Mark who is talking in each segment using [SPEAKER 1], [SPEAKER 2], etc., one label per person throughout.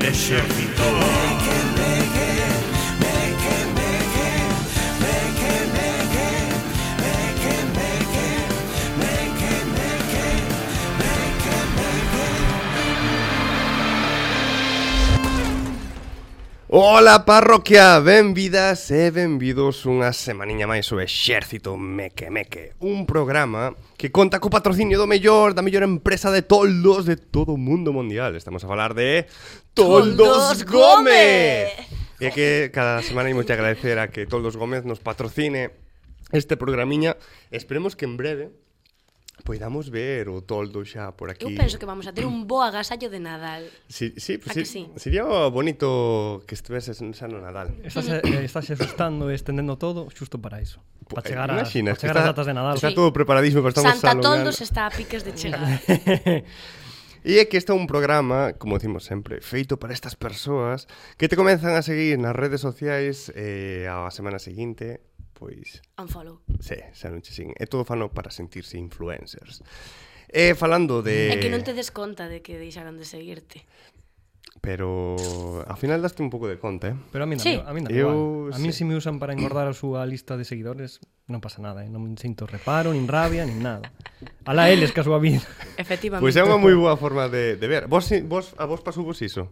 [SPEAKER 1] ejército.
[SPEAKER 2] Ola parroquia, benvidas e benvidos unha semaniña máis ao Exército Meque Meque Un programa que conta co patrocinio do mellor, da mellor empresa de toldos de todo o mundo mundial Estamos a falar de Toldos,
[SPEAKER 3] Toldos
[SPEAKER 2] Gómez
[SPEAKER 3] Gómez.
[SPEAKER 2] E que cada semana imos que agradecer a que Toldos Gómez nos patrocine este programiña Esperemos que en breve poidamos ver o toldo xa por aquí
[SPEAKER 3] Eu penso que vamos a ter un bo agasallo de Nadal.
[SPEAKER 2] Sí, sí, pues
[SPEAKER 3] A
[SPEAKER 2] sí,
[SPEAKER 3] que sí?
[SPEAKER 2] sería bonito que estiveses xa no Nadal
[SPEAKER 4] Estás, eh, estás asustando e estendendo todo xusto para iso. Para chegar, a,
[SPEAKER 2] Imaginas eh,
[SPEAKER 4] para
[SPEAKER 2] que
[SPEAKER 4] chegar
[SPEAKER 2] está,
[SPEAKER 4] as datas de Nadal.
[SPEAKER 2] Está todo preparadísimo, pero estamos
[SPEAKER 3] Santa
[SPEAKER 2] alongando.
[SPEAKER 3] Toldos está a piques de chegar.
[SPEAKER 2] E é que este é un programa, como decimos sempre, feito para estas persoas que te comenzan a seguir nas redes sociais eh, a semana seguinte, pois,
[SPEAKER 3] Unfollow.
[SPEAKER 2] se, se non che siguen. É todo fano para sentirse influencers. E falando de...
[SPEAKER 3] É que non te des conta de que deixaron de seguirte.
[SPEAKER 2] Pero ao final daste un pouco de conta, eh?
[SPEAKER 4] Pero a mí non,
[SPEAKER 3] Sí.
[SPEAKER 4] a mí non
[SPEAKER 2] Eu
[SPEAKER 4] igual. A mí
[SPEAKER 2] sí.
[SPEAKER 4] si me usan para engordar a súa lista de seguidores, non pasa nada, eh? non me sinto reparo, nin rabia, nin nada. Alá eles que a súa vida.
[SPEAKER 3] Efectivamente.
[SPEAKER 2] Pois é unha moi boa forma de, de ver. Vos, si- vos, a vos pasubos iso?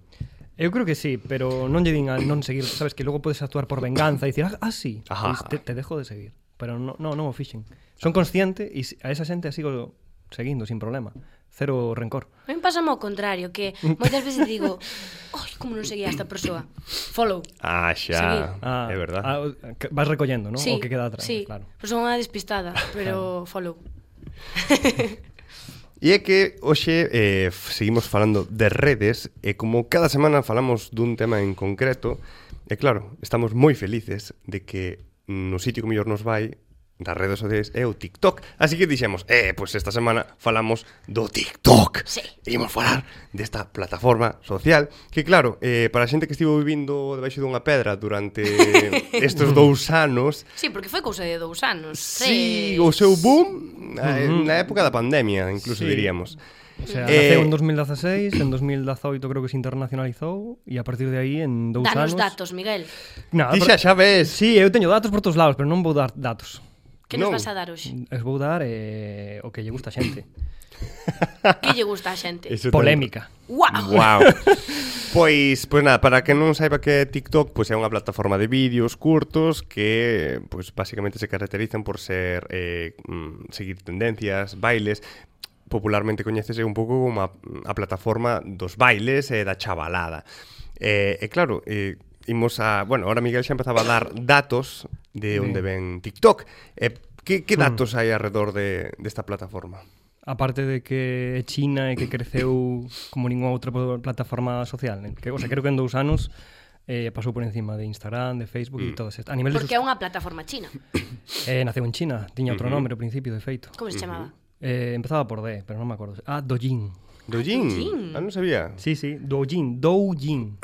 [SPEAKER 4] Eu creo que sí, pero non lle din a non seguir, sabes que logo podes actuar por venganza e dicir, ah, ah sí,
[SPEAKER 2] Ajá.
[SPEAKER 4] pois te, te dejo de seguir. Pero no, no, non o fixen. Son consciente e si- a esa xente a sigo seguindo sin problema. Cero rencor.
[SPEAKER 3] A mí pásame ao contrario, que moitas veces digo, "Ai, como non seguía a esta persoa." Follow.
[SPEAKER 2] Ah, xa,
[SPEAKER 3] Seguir.
[SPEAKER 4] Ah,
[SPEAKER 2] é verdad.
[SPEAKER 4] ah, o- que vas recollendo, ¿no?
[SPEAKER 3] Sí,
[SPEAKER 4] o que queda atrás,
[SPEAKER 3] sí.
[SPEAKER 4] claro.
[SPEAKER 3] Pois son unha despistada, pero follow.
[SPEAKER 2] E é que hoxe eh, f- seguimos falando de redes e como cada semana falamos dun tema en concreto e claro, estamos moi felices de que no sitio que mellor nos vai das redes sociais é o TikTok así que dixemos, eh, pois esta semana falamos do TikTok
[SPEAKER 3] Sí.
[SPEAKER 2] e imos falar desta plataforma social que claro, eh, para a xente que estivo vivindo debaixo dunha pedra durante estes dous anos
[SPEAKER 3] Sí, porque foi cousa de dous anos.
[SPEAKER 2] Sí,
[SPEAKER 3] tres.
[SPEAKER 2] o seu boom eh, na época da pandemia, incluso
[SPEAKER 4] Sí.
[SPEAKER 2] diríamos.
[SPEAKER 4] O sea,
[SPEAKER 2] Eh,
[SPEAKER 4] naceu en 2016, en 2018 creo que se internacionalizou e a partir de aí en dous
[SPEAKER 3] Danos
[SPEAKER 4] anos...
[SPEAKER 3] datos, Miguel.
[SPEAKER 4] Nada,
[SPEAKER 2] Ti xa xa ves.
[SPEAKER 4] Sí, eu teño datos por todos lados, pero non vou dar datos.
[SPEAKER 3] Que nos
[SPEAKER 2] Non.
[SPEAKER 3] vas a dar hoxe?
[SPEAKER 4] Es vou dar eh, o que lle gusta a xente.
[SPEAKER 3] Que lle gusta a xente?
[SPEAKER 2] Eso
[SPEAKER 4] Polémica.
[SPEAKER 3] Wow.
[SPEAKER 2] Wow. pois, pois nada, para que non saiba que é TikTok pois é unha plataforma de vídeos curtos que pois basicamente se caracterizan por ser eh, mm, seguir tendencias, bailes, popularmente coñécese un pouco como a, a plataforma dos bailes e da chavalada. Eh, e claro, eh, imos a, bueno, ahora Miguel xa empezaba a dar datos de onde ven TikTok. Eh, que que
[SPEAKER 4] Hmm.
[SPEAKER 2] datos hai alrededor de desta plataforma?
[SPEAKER 4] Aparte de que é China e que creceu como ningunha outra pl- plataforma social. eh, Que, o sea, creo que en dous anos eh, pasou por encima de Instagram, de Facebook e todas estas. A nivel
[SPEAKER 3] Porque
[SPEAKER 4] de...
[SPEAKER 3] é unha plataforma china.
[SPEAKER 4] sus- Eh, naceu en China, tiña outro nome ao principio, de feito.
[SPEAKER 3] Como se chamaba?
[SPEAKER 4] Eh, empezaba por D, pero non me acordo. Ah, Douyin.
[SPEAKER 2] Dojin.
[SPEAKER 3] Douyin.
[SPEAKER 2] Ah, non sabía.
[SPEAKER 4] Sí, sí, Douyin, Douyin,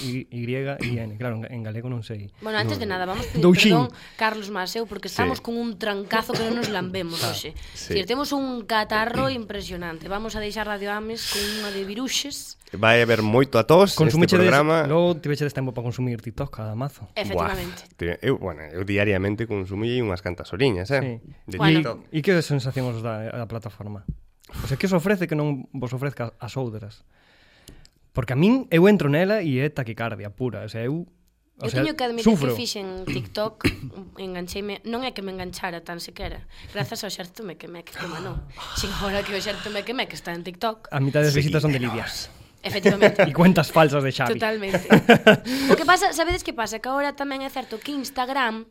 [SPEAKER 4] D-U-Y-I-N, claro, en, en galego non sei.
[SPEAKER 3] Bueno, antes de nada, vamos pedir
[SPEAKER 4] Douxín.
[SPEAKER 3] perdón, Carlos Maseu, porque estamos
[SPEAKER 2] Sí.
[SPEAKER 3] sí. con un trancazo que non nos lambemos hoxe.
[SPEAKER 2] sí.
[SPEAKER 3] Sí. Cir, temos un catarro impresionante. Vamos a deixar Radio Ames con unha de viruxes.
[SPEAKER 2] Vai haber moito a tos neste
[SPEAKER 4] Consumichedes,
[SPEAKER 2] programa.
[SPEAKER 4] logo tivechedes tempo para consumir TikTok cada mazo.
[SPEAKER 3] Efectivamente.
[SPEAKER 2] Buah, te- eu, bueno, eu diariamente consumí unhas cantas oriñas, eh?
[SPEAKER 4] Sí.
[SPEAKER 2] De
[SPEAKER 3] Bueno.
[SPEAKER 2] TikTok.
[SPEAKER 4] E que sensación os dá a plataforma? O sea, que os ofrece que non vos ofrezca as outras? Porque a min, eu entro nela e é taquicardia pura, o sea, eu... O
[SPEAKER 3] Eu
[SPEAKER 4] sea,
[SPEAKER 3] teño que admitir
[SPEAKER 4] sufro.
[SPEAKER 3] que fixen TikTok, engancheime, non é que me enganchara tan sequera, grazas ao xerto me que me que como non. Sin hora que o xerto me que me que está en TikTok,
[SPEAKER 4] A mitad das visitas son de Lidia.
[SPEAKER 3] efectivamente.
[SPEAKER 4] E cuentas falsas de Xavi.
[SPEAKER 3] Totalmente. o que pasa, sabedes que pasa? Que agora tamén é certo que Instagram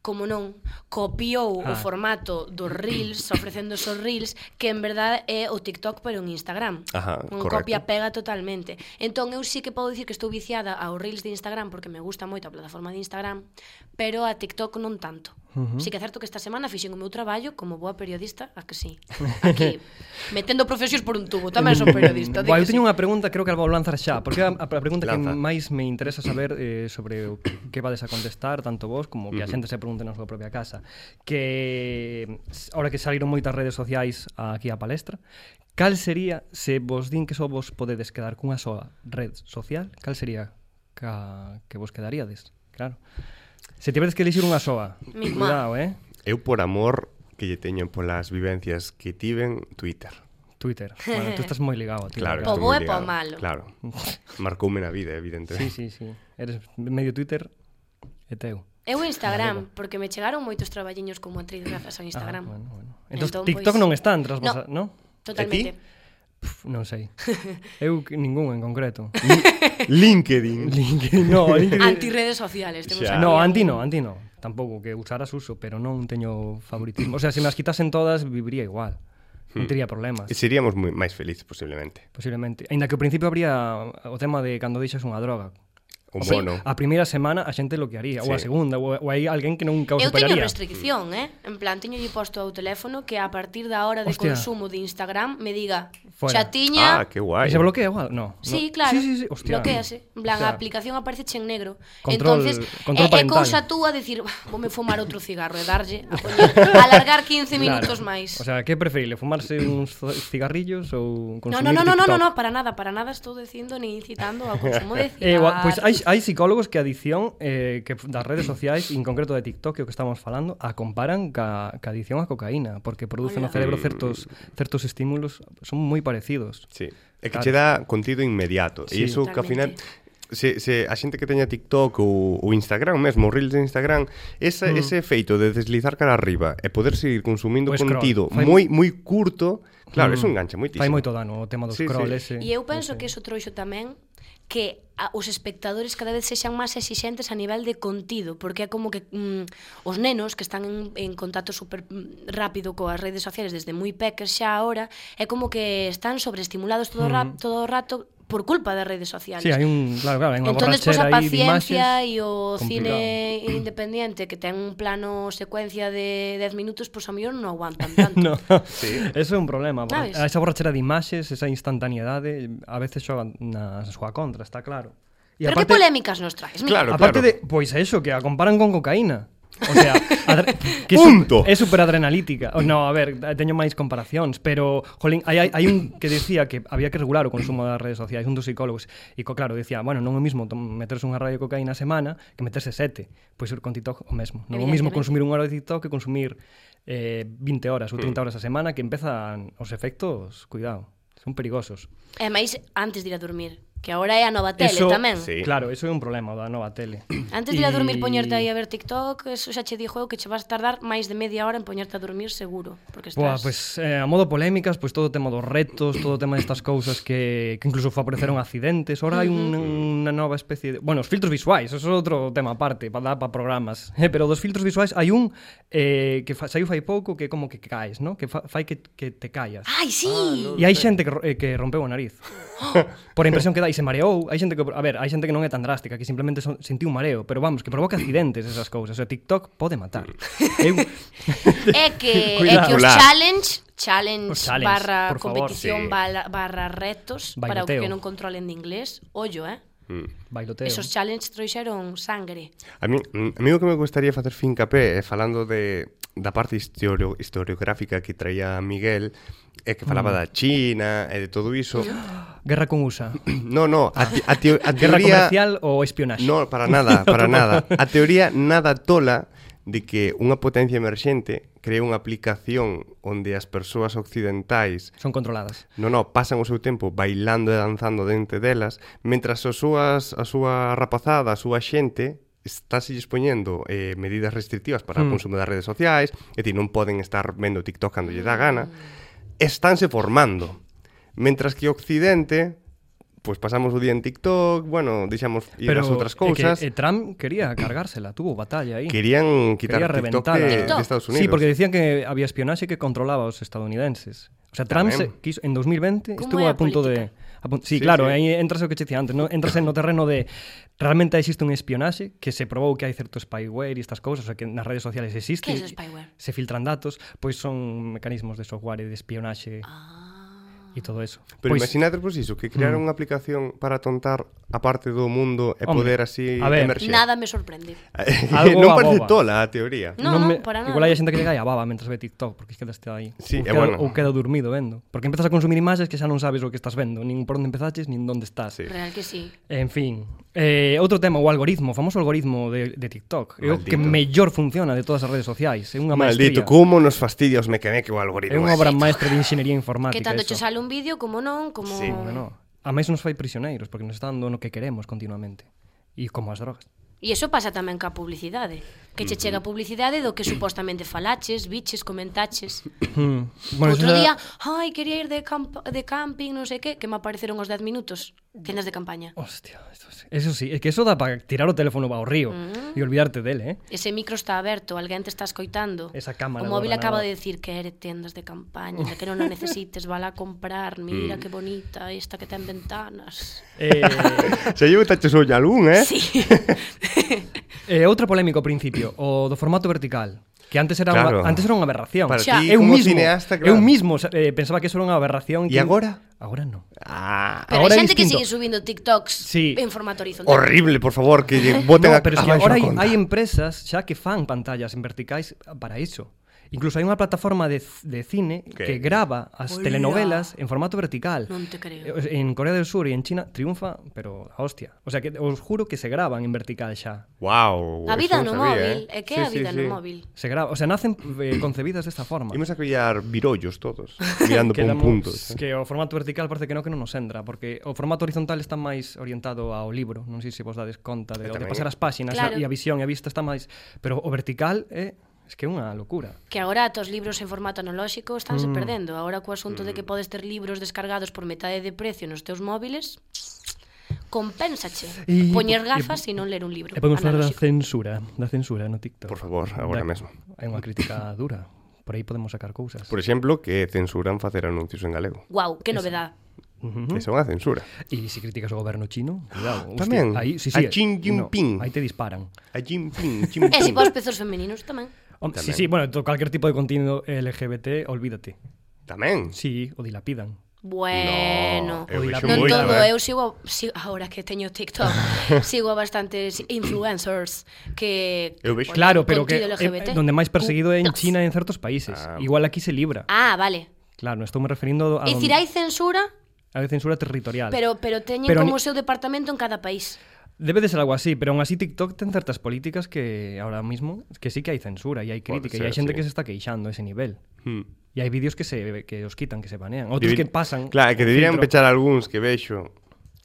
[SPEAKER 3] como non, copiou ah. o
[SPEAKER 4] Ah.
[SPEAKER 3] formato dos Reels, ofrecendo os Reels, que en verdade é o TikTok pero en Instagram.
[SPEAKER 2] Ajá,
[SPEAKER 3] un
[SPEAKER 2] correcto.
[SPEAKER 3] copia pega totalmente. Entón eu sí que podo dicir que estou viciada aos Reels de Instagram porque me gusta moito a plataforma de Instagram, pero a TikTok non tanto.
[SPEAKER 4] Ujú.
[SPEAKER 3] Sí que é certo que esta semana fixen o meu traballo como boa periodista, a que sí. Aquí, metendo profesións por un tubo, tamén son periodista. di
[SPEAKER 4] Buah, eu
[SPEAKER 3] que sí.
[SPEAKER 4] teño unha pregunta, creo que a vou lanzar xa, porque é a, a pregunta
[SPEAKER 2] Lanza.
[SPEAKER 4] que máis me interesa saber eh, sobre o que vades a contestar, tanto vos como que a xente se pregunte na súa propia casa. Que s- ahora que saíron moitas redes sociais aquí a palestra, cal sería, se vos din que só vos podedes quedar cunha soa red social, cal sería ca, que vos quedaríades? Claro. Se tiveres que elixir unha soa,
[SPEAKER 3] Mi má.
[SPEAKER 4] cuidado, eh?
[SPEAKER 2] Eu por amor que lle teñen polas vivencias que tiven Twitter.
[SPEAKER 4] Twitter. Bueno, tú estás moi ligado a Twitter.
[SPEAKER 2] Claro,
[SPEAKER 3] Po
[SPEAKER 2] estou
[SPEAKER 3] bo
[SPEAKER 2] moi
[SPEAKER 3] e po
[SPEAKER 2] ligado.
[SPEAKER 3] malo.
[SPEAKER 2] Claro. Marcoume na vida,
[SPEAKER 4] Sí,
[SPEAKER 2] evidentemente.
[SPEAKER 4] sí, sí. Eres medio Twitter e teu.
[SPEAKER 3] Eu Instagram, porque me chegaron moitos traballiños como actriz grazas ao Instagram.
[SPEAKER 4] Ah, bueno, bueno. Entón,
[SPEAKER 3] Entón,
[SPEAKER 4] TikTok
[SPEAKER 3] pois,
[SPEAKER 4] non está en trasvasa,
[SPEAKER 3] no.
[SPEAKER 4] no. no?
[SPEAKER 2] E
[SPEAKER 3] Totalmente.
[SPEAKER 2] ti?
[SPEAKER 4] Pff, non sei. Eu que- ningún en concreto.
[SPEAKER 2] LinkedIn.
[SPEAKER 4] LinkedIn, no, LinkedIn.
[SPEAKER 3] Antirredes sociales, temos
[SPEAKER 2] Xa.
[SPEAKER 3] aquí
[SPEAKER 4] No,
[SPEAKER 3] un-
[SPEAKER 4] anti no, anti no. Tampouco que usaras uso, pero non teño favoritismo. O sea, se me as quitasen todas, viviría igual. Non
[SPEAKER 2] Hmm.
[SPEAKER 4] tería problemas.
[SPEAKER 2] Seríamos moi máis felices posiblemente.
[SPEAKER 4] Posiblemente. Ainda que ao principio habría o tema de cando deixas unha droga.
[SPEAKER 2] O
[SPEAKER 4] Sí. Ah,
[SPEAKER 2] mono.
[SPEAKER 4] A primeira semana a xente lo que haría, ou a
[SPEAKER 2] Sí.
[SPEAKER 4] segunda, ou, ou hai alguén que nunca o
[SPEAKER 3] Eu teño
[SPEAKER 4] superaría.
[SPEAKER 3] restricción, eh? En plan, teño lle posto ao teléfono que a partir da hora de
[SPEAKER 4] Hostia.
[SPEAKER 3] consumo de Instagram me diga
[SPEAKER 4] Fuera.
[SPEAKER 2] Ah,
[SPEAKER 3] chatiña,
[SPEAKER 2] que
[SPEAKER 4] E
[SPEAKER 2] guai.
[SPEAKER 4] se bloquea igual? No.
[SPEAKER 3] Sí,
[SPEAKER 4] no.
[SPEAKER 3] claro.
[SPEAKER 4] Sí, sí, sí. Hostia.
[SPEAKER 3] Bloquease. En plan,
[SPEAKER 4] O sea,
[SPEAKER 3] a aplicación aparece en negro.
[SPEAKER 4] Control-
[SPEAKER 3] Entonces, é,
[SPEAKER 4] control
[SPEAKER 3] é
[SPEAKER 4] parental.
[SPEAKER 3] cousa túa dicir, "Bah, voume fumar outro cigarro e darlle a poñer, alargar 15
[SPEAKER 4] Claro.
[SPEAKER 3] minutos máis.
[SPEAKER 4] O sea, que preferible, fumarse uns zo- cigarrillos ou
[SPEAKER 3] No, no,
[SPEAKER 4] consumir
[SPEAKER 3] no, no, no, no,
[SPEAKER 4] TikTok?
[SPEAKER 3] no, para nada, para nada estou dicindo ni incitando ao consumo de
[SPEAKER 4] Eh,
[SPEAKER 3] cigarros.
[SPEAKER 4] gua- pois hai, hai psicólogos que a adicción eh, que f- das redes sociais, en concreto de TikTok, que é o que estamos falando, a comparan ca, ca adicción á cocaína, porque producen no
[SPEAKER 3] Ola.
[SPEAKER 4] cerebro certos certos estímulos, son moi parecidos.
[SPEAKER 2] Sí. É que che dá contido inmediato.
[SPEAKER 4] Sí.
[SPEAKER 2] E iso que ao final
[SPEAKER 3] Totalmente.
[SPEAKER 2] se, se a xente que teña TikTok ou o Instagram mesmo, os reels de Instagram, esa, mm.
[SPEAKER 4] Hmm.
[SPEAKER 2] ese efeito de deslizar cara arriba e poder seguir consumindo
[SPEAKER 4] O
[SPEAKER 2] pues
[SPEAKER 4] scroll.
[SPEAKER 2] contido
[SPEAKER 4] Fai- Hmm.
[SPEAKER 2] moi moi curto, claro, mm. eso engancha moitísimo.
[SPEAKER 4] Fai moito dano o tema do
[SPEAKER 2] Sí,
[SPEAKER 4] scroll
[SPEAKER 2] sí.
[SPEAKER 4] ese.
[SPEAKER 3] E eu penso que eso trouxo tamén que a, os espectadores cada vez sexan máis exixentes a nivel de contido, porque é como que mm, os nenos que están en, en contacto super mm, rápido coas redes sociales desde moi peques xa ahora, é como que están sobreestimulados todo, ra, todo o rato por culpa das redes sociales.
[SPEAKER 4] Sí, hai un, claro, claro, hai unha
[SPEAKER 3] Entonces, pois a
[SPEAKER 4] borrachera aí de imaxes.
[SPEAKER 3] paciencia e o
[SPEAKER 4] complicado.
[SPEAKER 3] cine independiente que ten un plano secuencia de 10 minutos, pois a mellor non aguantan tanto.
[SPEAKER 4] No, sí. eso é un problema. Por,
[SPEAKER 3] Sabes?
[SPEAKER 4] esa borrachera de imaxes, esa instantaneidade, a veces xogan na súa contra, está claro. E
[SPEAKER 3] Pero que polémicas nos traes? Mira,
[SPEAKER 2] Claro,
[SPEAKER 4] aparte
[SPEAKER 2] claro.
[SPEAKER 4] de, pois é iso, que a comparan con cocaína. O sea, adre- que
[SPEAKER 2] Punto.
[SPEAKER 4] É super adrenalítica. Oh, no, a ver, teño máis comparacións, pero jolín, hai, hai, hai un que decía que había que regular o consumo das redes sociais, un dos psicólogos, e co, claro, decía, bueno, non é o mismo tom- meterse unha radio de cocaína a semana que meterse sete. Pois con TikTok o mesmo. Non é o mismo
[SPEAKER 3] Evidentemente.
[SPEAKER 4] consumir unha hora de TikTok que consumir eh, 20 horas
[SPEAKER 2] Mm.
[SPEAKER 4] ou 30 horas a semana que empezan os efectos, cuidado, son perigosos.
[SPEAKER 3] E máis antes de ir a dormir, que agora é a nova tele
[SPEAKER 4] Eso-
[SPEAKER 3] tamén.
[SPEAKER 2] Sí.
[SPEAKER 4] Claro, eso é un problema da nova tele.
[SPEAKER 3] Antes de ir a dormir
[SPEAKER 4] E-
[SPEAKER 3] poñerte aí a ver TikTok, eso xa che dixo eu que che vas tardar máis de media hora en poñerte a dormir seguro, porque estás
[SPEAKER 4] Boa, pues eh, a modo polémicas, pues todo o tema dos retos, todo o tema destas cousas que, que incluso favoreceron accidentes. Ora hai un, unha nova especie de... Bueno, os filtros visuais, eso é outro tema aparte, para dar para programas. Eh, pero dos filtros visuais hai un eh, que fa, saiu fai pouco que como que caes, ¿no? que fa, fai que, que te callas.
[SPEAKER 3] Ai, sí. Ah, no.
[SPEAKER 4] E hai xente que, ro- eh, que rompeu a nariz Por a impresión que dai, se mareou Hai xente que, a ver, hai xente que non é tan drástica Que simplemente son, sentiu un mareo Pero vamos, que provoca accidentes esas cousas O sea, TikTok pode matar Eu,
[SPEAKER 3] É que é
[SPEAKER 4] Cuidado.
[SPEAKER 3] que os
[SPEAKER 2] Cuidado.
[SPEAKER 3] challenge, challenge,
[SPEAKER 4] Os challenge,
[SPEAKER 3] barra
[SPEAKER 4] por favor.
[SPEAKER 3] competición
[SPEAKER 2] Sí.
[SPEAKER 3] barra, barra retos para o
[SPEAKER 4] Bailoteo.
[SPEAKER 3] que non controlen de inglés, ollo, eh.
[SPEAKER 2] Mm.
[SPEAKER 4] bailoteo
[SPEAKER 3] Esos challenge trouxeron sangre.
[SPEAKER 2] A mí, a mí o que me gustaría facer fincapé é eh, falando de da parte historio, historiográfica que traía Miguel é que falaba mm.
[SPEAKER 4] Hmm.
[SPEAKER 2] da China e de todo iso.
[SPEAKER 4] Guerra con USA
[SPEAKER 2] No, no, a, ti- a, teo, a
[SPEAKER 4] Guerra
[SPEAKER 2] teoría
[SPEAKER 4] comercial ou espionaxe?
[SPEAKER 2] No, para nada, para nada. A teoría nada tola de que unha potencia emerxente crea unha aplicación onde as persoas occidentais
[SPEAKER 4] Son controladas.
[SPEAKER 2] Non, non, pasan o seu tempo bailando e danzando dente delas, mentras as súas, a súa rapazada, a súa xente, estáse expoñendo eh, medidas restrictivas para mm.
[SPEAKER 4] Hmm.
[SPEAKER 2] o consumo das redes sociais, é ti non poden estar vendo TikTok cando lle dá
[SPEAKER 4] Hmm.
[SPEAKER 2] gana, estánse formando. Mentras que o Occidente, pois pasamos o día en TikTok, bueno, deixamos ir as outras cousas,
[SPEAKER 4] É que, eh, Trump quería cargársela, tuvo batalla aí.
[SPEAKER 2] querían quitar
[SPEAKER 4] quería
[SPEAKER 2] TikTok
[SPEAKER 4] reventar
[SPEAKER 2] de, de
[SPEAKER 4] a-
[SPEAKER 2] Estados Unidos.
[SPEAKER 4] Sí, porque decían que había espionaxe que controlaba os estadounidenses. O sea, Trump se
[SPEAKER 2] Tamén.
[SPEAKER 4] quiso, en 2020
[SPEAKER 3] Como
[SPEAKER 4] estuvo
[SPEAKER 3] é a
[SPEAKER 4] a punto de... a pun- sí,
[SPEAKER 2] Sí,
[SPEAKER 4] claro,
[SPEAKER 2] sí.
[SPEAKER 4] aí entras o que che dicía antes, no? entras no terreno de realmente existe un espionaxe que se probou que hai certo spyware e estas cousas, o sea, que nas redes sociales existe.
[SPEAKER 3] Que é o
[SPEAKER 4] e
[SPEAKER 3] spyware?
[SPEAKER 4] Se filtran datos, pois son mecanismos de software e de espionaxe e
[SPEAKER 3] Ah.
[SPEAKER 4] todo eso.
[SPEAKER 2] Pero
[SPEAKER 4] pois, Hmm.
[SPEAKER 2] imagínate, pois, iso, que crear unha aplicación para tontar a parte do mundo e
[SPEAKER 4] Hombre,
[SPEAKER 2] poder así
[SPEAKER 4] a ver.
[SPEAKER 2] emerxer.
[SPEAKER 3] Nada me sorprende.
[SPEAKER 4] Algo
[SPEAKER 2] non
[SPEAKER 4] a
[SPEAKER 2] parece
[SPEAKER 4] boba.
[SPEAKER 2] tola a teoría. Ah,
[SPEAKER 3] No, no, para nada.
[SPEAKER 4] Igual hai xente que "Ah, lle cae a baba mentras ve TikTok, porque es que está aí.
[SPEAKER 2] Sí,
[SPEAKER 4] ou,
[SPEAKER 2] é
[SPEAKER 4] queda,
[SPEAKER 2] bueno.
[SPEAKER 4] ou queda dormido vendo. Porque empezas a consumir imaxes que xa non sabes o que estás vendo, nin por onde empezaches, nin onde estás.
[SPEAKER 2] Sí.
[SPEAKER 3] Real que sí.
[SPEAKER 4] En fin, eh, outro tema, o algoritmo, o famoso algoritmo de, de TikTok. É o
[SPEAKER 2] Maldito.
[SPEAKER 4] que mellor funciona de todas as redes sociais. É unha
[SPEAKER 2] Maldito,
[SPEAKER 4] maestría.
[SPEAKER 2] como nos fastidia os mecaneque o algoritmo.
[SPEAKER 4] É unha
[SPEAKER 2] ese.
[SPEAKER 4] obra maestra de inxeniería informática.
[SPEAKER 3] Que tanto che
[SPEAKER 4] eso.
[SPEAKER 3] sale un vídeo como non, como...
[SPEAKER 2] Sí,
[SPEAKER 3] eh?
[SPEAKER 4] Bueno, a máis nos fai prisioneiros, porque nos está dando no que queremos continuamente. E como as drogas.
[SPEAKER 3] E iso pasa tamén ca publicidade. Que che chega publicidade do que supostamente falaches, biches, comentaches.
[SPEAKER 4] Hmm.
[SPEAKER 3] Bueno, Outro
[SPEAKER 4] xa-
[SPEAKER 3] día, ai, quería ir de, camp de camping, non sei que, que me apareceron os 10 minutos. Tendas de campaña.
[SPEAKER 4] Hostia, eso sí. Eso sí, é que eso dá para tirar o teléfono ao río mm. e olvidarte dele, eh?
[SPEAKER 3] Ese micro está aberto, alguén te está escoitando.
[SPEAKER 4] Esa cámara
[SPEAKER 3] O móvil
[SPEAKER 4] do
[SPEAKER 3] acaba
[SPEAKER 4] ordenador.
[SPEAKER 3] de decir que eres tendas de campaña, que non a necesites, vala a comprar,
[SPEAKER 4] Mm.
[SPEAKER 3] mira que bonita esta que ten ventanas.
[SPEAKER 4] Eh,
[SPEAKER 2] Se llevo taches o algún, eh?
[SPEAKER 3] Sí.
[SPEAKER 4] Eh, outro polémico ao principio, o do formato vertical, que antes era
[SPEAKER 2] Claro.
[SPEAKER 4] unha, antes era unha aberración.
[SPEAKER 2] Para
[SPEAKER 3] Xa.
[SPEAKER 2] ti,
[SPEAKER 4] eu
[SPEAKER 2] como
[SPEAKER 4] mismo,
[SPEAKER 2] cineasta,
[SPEAKER 4] eu
[SPEAKER 2] claro.
[SPEAKER 4] mismo sa- eh, pensaba que eso era unha aberración.
[SPEAKER 2] E agora?
[SPEAKER 4] Agora non.
[SPEAKER 2] Ah,
[SPEAKER 3] Pero hai
[SPEAKER 4] Ahora é
[SPEAKER 3] xente que
[SPEAKER 4] distinto.
[SPEAKER 3] sigue subindo TikToks
[SPEAKER 4] Sí.
[SPEAKER 3] en formato horizontal.
[SPEAKER 2] horrible, por favor, que lle boten a
[SPEAKER 4] No, pero es que
[SPEAKER 2] abaixo
[SPEAKER 4] agora
[SPEAKER 2] a
[SPEAKER 4] hai,
[SPEAKER 2] conta.
[SPEAKER 4] hai empresas xa que fan pantallas en verticais para iso. Incluso hai unha plataforma de, c- de cine
[SPEAKER 2] Que-
[SPEAKER 4] que grava as
[SPEAKER 3] Ola.
[SPEAKER 4] telenovelas en formato vertical.
[SPEAKER 3] Non te creo.
[SPEAKER 4] Eh, En Corea del Sur e en China triunfa, pero a hostia. O sea, que os juro que se graban en vertical xa.
[SPEAKER 2] Wow,
[SPEAKER 3] A vida no
[SPEAKER 4] eh.
[SPEAKER 3] móvil,
[SPEAKER 2] eh.
[SPEAKER 3] é que é a vida no móvil.
[SPEAKER 4] Se graba, o sea, nacen eh, concebidas desta forma.
[SPEAKER 2] Imos a criar virollos todos, mirando eh. por un
[SPEAKER 4] Quedamos
[SPEAKER 2] punto.
[SPEAKER 4] que o formato vertical parece que no que non nos entra, porque o formato horizontal está máis orientado ao libro, non sei se vos dades conta
[SPEAKER 2] E
[SPEAKER 4] de, o de
[SPEAKER 2] tamén-
[SPEAKER 4] pasar as páxinas
[SPEAKER 3] Claro.
[SPEAKER 4] e a visión e a vista está máis, pero o vertical é es que é unha locura.
[SPEAKER 3] Que agora tos libros en formato analóxico estánse mm. perdendo. Agora co asunto mm. de que podes ter libros descargados por metade de precio nos teus móviles, compénsache.
[SPEAKER 4] E-
[SPEAKER 3] Poñer
[SPEAKER 4] e-
[SPEAKER 3] gafas e non ler un libro
[SPEAKER 4] E podemos falar da
[SPEAKER 3] analóxico.
[SPEAKER 4] censura, da censura no TikTok.
[SPEAKER 2] Por favor, agora mesmo.
[SPEAKER 4] É unha crítica dura. Por aí podemos sacar cousas.
[SPEAKER 2] Por exemplo, que censuran facer anuncios en galego.
[SPEAKER 3] Guau, que novedade.
[SPEAKER 4] Ujú.
[SPEAKER 2] Esa é unha censura.
[SPEAKER 4] E se criticas o goberno chino, cuidado.
[SPEAKER 2] Tamén.
[SPEAKER 4] Aí, sí,
[SPEAKER 2] A
[SPEAKER 4] sí,
[SPEAKER 2] Xi Jinping.
[SPEAKER 4] No, aí te disparan.
[SPEAKER 2] A Jinping, Jinping.
[SPEAKER 3] E se pos pezos femeninos tamén.
[SPEAKER 4] Hom, sí,
[SPEAKER 2] Tamén.
[SPEAKER 4] sí, bueno, to, calquer tipo de contenido LGBT, olvídate.
[SPEAKER 2] Tamén.
[SPEAKER 4] Sí, o dilapidan.
[SPEAKER 3] Bueno.
[SPEAKER 2] eu
[SPEAKER 4] Non
[SPEAKER 2] vexo
[SPEAKER 3] Non
[SPEAKER 2] moito,
[SPEAKER 3] todo,
[SPEAKER 2] eh.
[SPEAKER 3] eu sigo, sigo ahora que teño TikTok, sigo a bastantes influencers que
[SPEAKER 2] Eu vexo.
[SPEAKER 4] Claro, pero que
[SPEAKER 3] contido
[SPEAKER 4] eh,
[SPEAKER 3] LGBT.
[SPEAKER 4] donde máis perseguido é en
[SPEAKER 3] Plus.
[SPEAKER 4] China e en certos países.
[SPEAKER 2] Ah.
[SPEAKER 4] Igual aquí se libra.
[SPEAKER 3] Ah, vale.
[SPEAKER 4] Claro, estou me referindo a
[SPEAKER 3] É dicir, hai censura,
[SPEAKER 4] a censura territorial.
[SPEAKER 3] pero pero teñen
[SPEAKER 4] Pero
[SPEAKER 3] como o
[SPEAKER 4] ni-
[SPEAKER 3] seu departamento en cada país.
[SPEAKER 4] Debe de ser algo así, pero aún así TikTok ten certas políticas que ahora mismo que sí que hai censura e hai
[SPEAKER 2] Pode
[SPEAKER 4] crítica
[SPEAKER 2] ser,
[SPEAKER 4] e hai xente
[SPEAKER 2] sí.
[SPEAKER 4] que se está queixando a ese nivel.
[SPEAKER 2] Hmm.
[SPEAKER 4] E hai vídeos que se que os quitan, que se banean, outros que
[SPEAKER 2] Debería-
[SPEAKER 4] pasan.
[SPEAKER 2] Claro, que
[SPEAKER 4] o
[SPEAKER 2] deberían
[SPEAKER 4] filtro.
[SPEAKER 2] pechar algúns que vexo.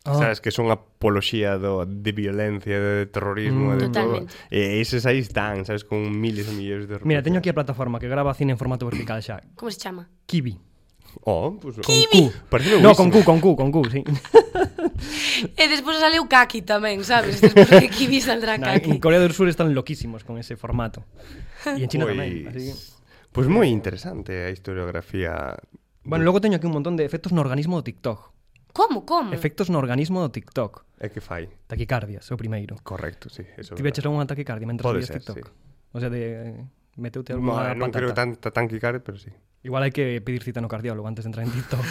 [SPEAKER 4] Ah.
[SPEAKER 2] Sabes que son apoloxía do, de violencia, de terrorismo,
[SPEAKER 4] Mm.
[SPEAKER 2] de
[SPEAKER 3] Totalmente.
[SPEAKER 2] todo. E eses aí están, sabes, con miles e millóns de
[SPEAKER 4] Mira, teño aquí a plataforma que grava cine en formato vertical xa.
[SPEAKER 3] Como se chama?
[SPEAKER 4] Kibi.
[SPEAKER 2] Oh, pues,
[SPEAKER 4] Kiwi.
[SPEAKER 2] Parece
[SPEAKER 4] No, con Q, con Q, con Q, sí.
[SPEAKER 3] E despois sale o Kaki tamén, sabes? Despois de Kiwi saldrá
[SPEAKER 4] Na, en
[SPEAKER 3] Kaki.
[SPEAKER 4] Corea del Sur están loquísimos con ese formato. E en China
[SPEAKER 2] Pois-
[SPEAKER 4] tamén, así que...
[SPEAKER 2] Pois moi interesante a historiografía.
[SPEAKER 4] Bueno, logo teño aquí un montón de efectos no organismo do TikTok.
[SPEAKER 3] Como, como?
[SPEAKER 4] Efectos no organismo do TikTok.
[SPEAKER 2] É que fai.
[SPEAKER 4] Taquicardias, o primeiro.
[SPEAKER 2] Correcto, sí. Eso é verdade.
[SPEAKER 4] Ti veches unha taquicardia mentre
[SPEAKER 2] Pode
[SPEAKER 4] vías
[SPEAKER 2] ser, sí.
[SPEAKER 4] TikTok. O sea, de meteute
[SPEAKER 2] No,
[SPEAKER 4] alguna
[SPEAKER 2] non
[SPEAKER 4] patata.
[SPEAKER 2] creo tanta tanquicar, pero sí.
[SPEAKER 4] Igual hai que pedir cita no cardiólogo antes de entrar en TikTok.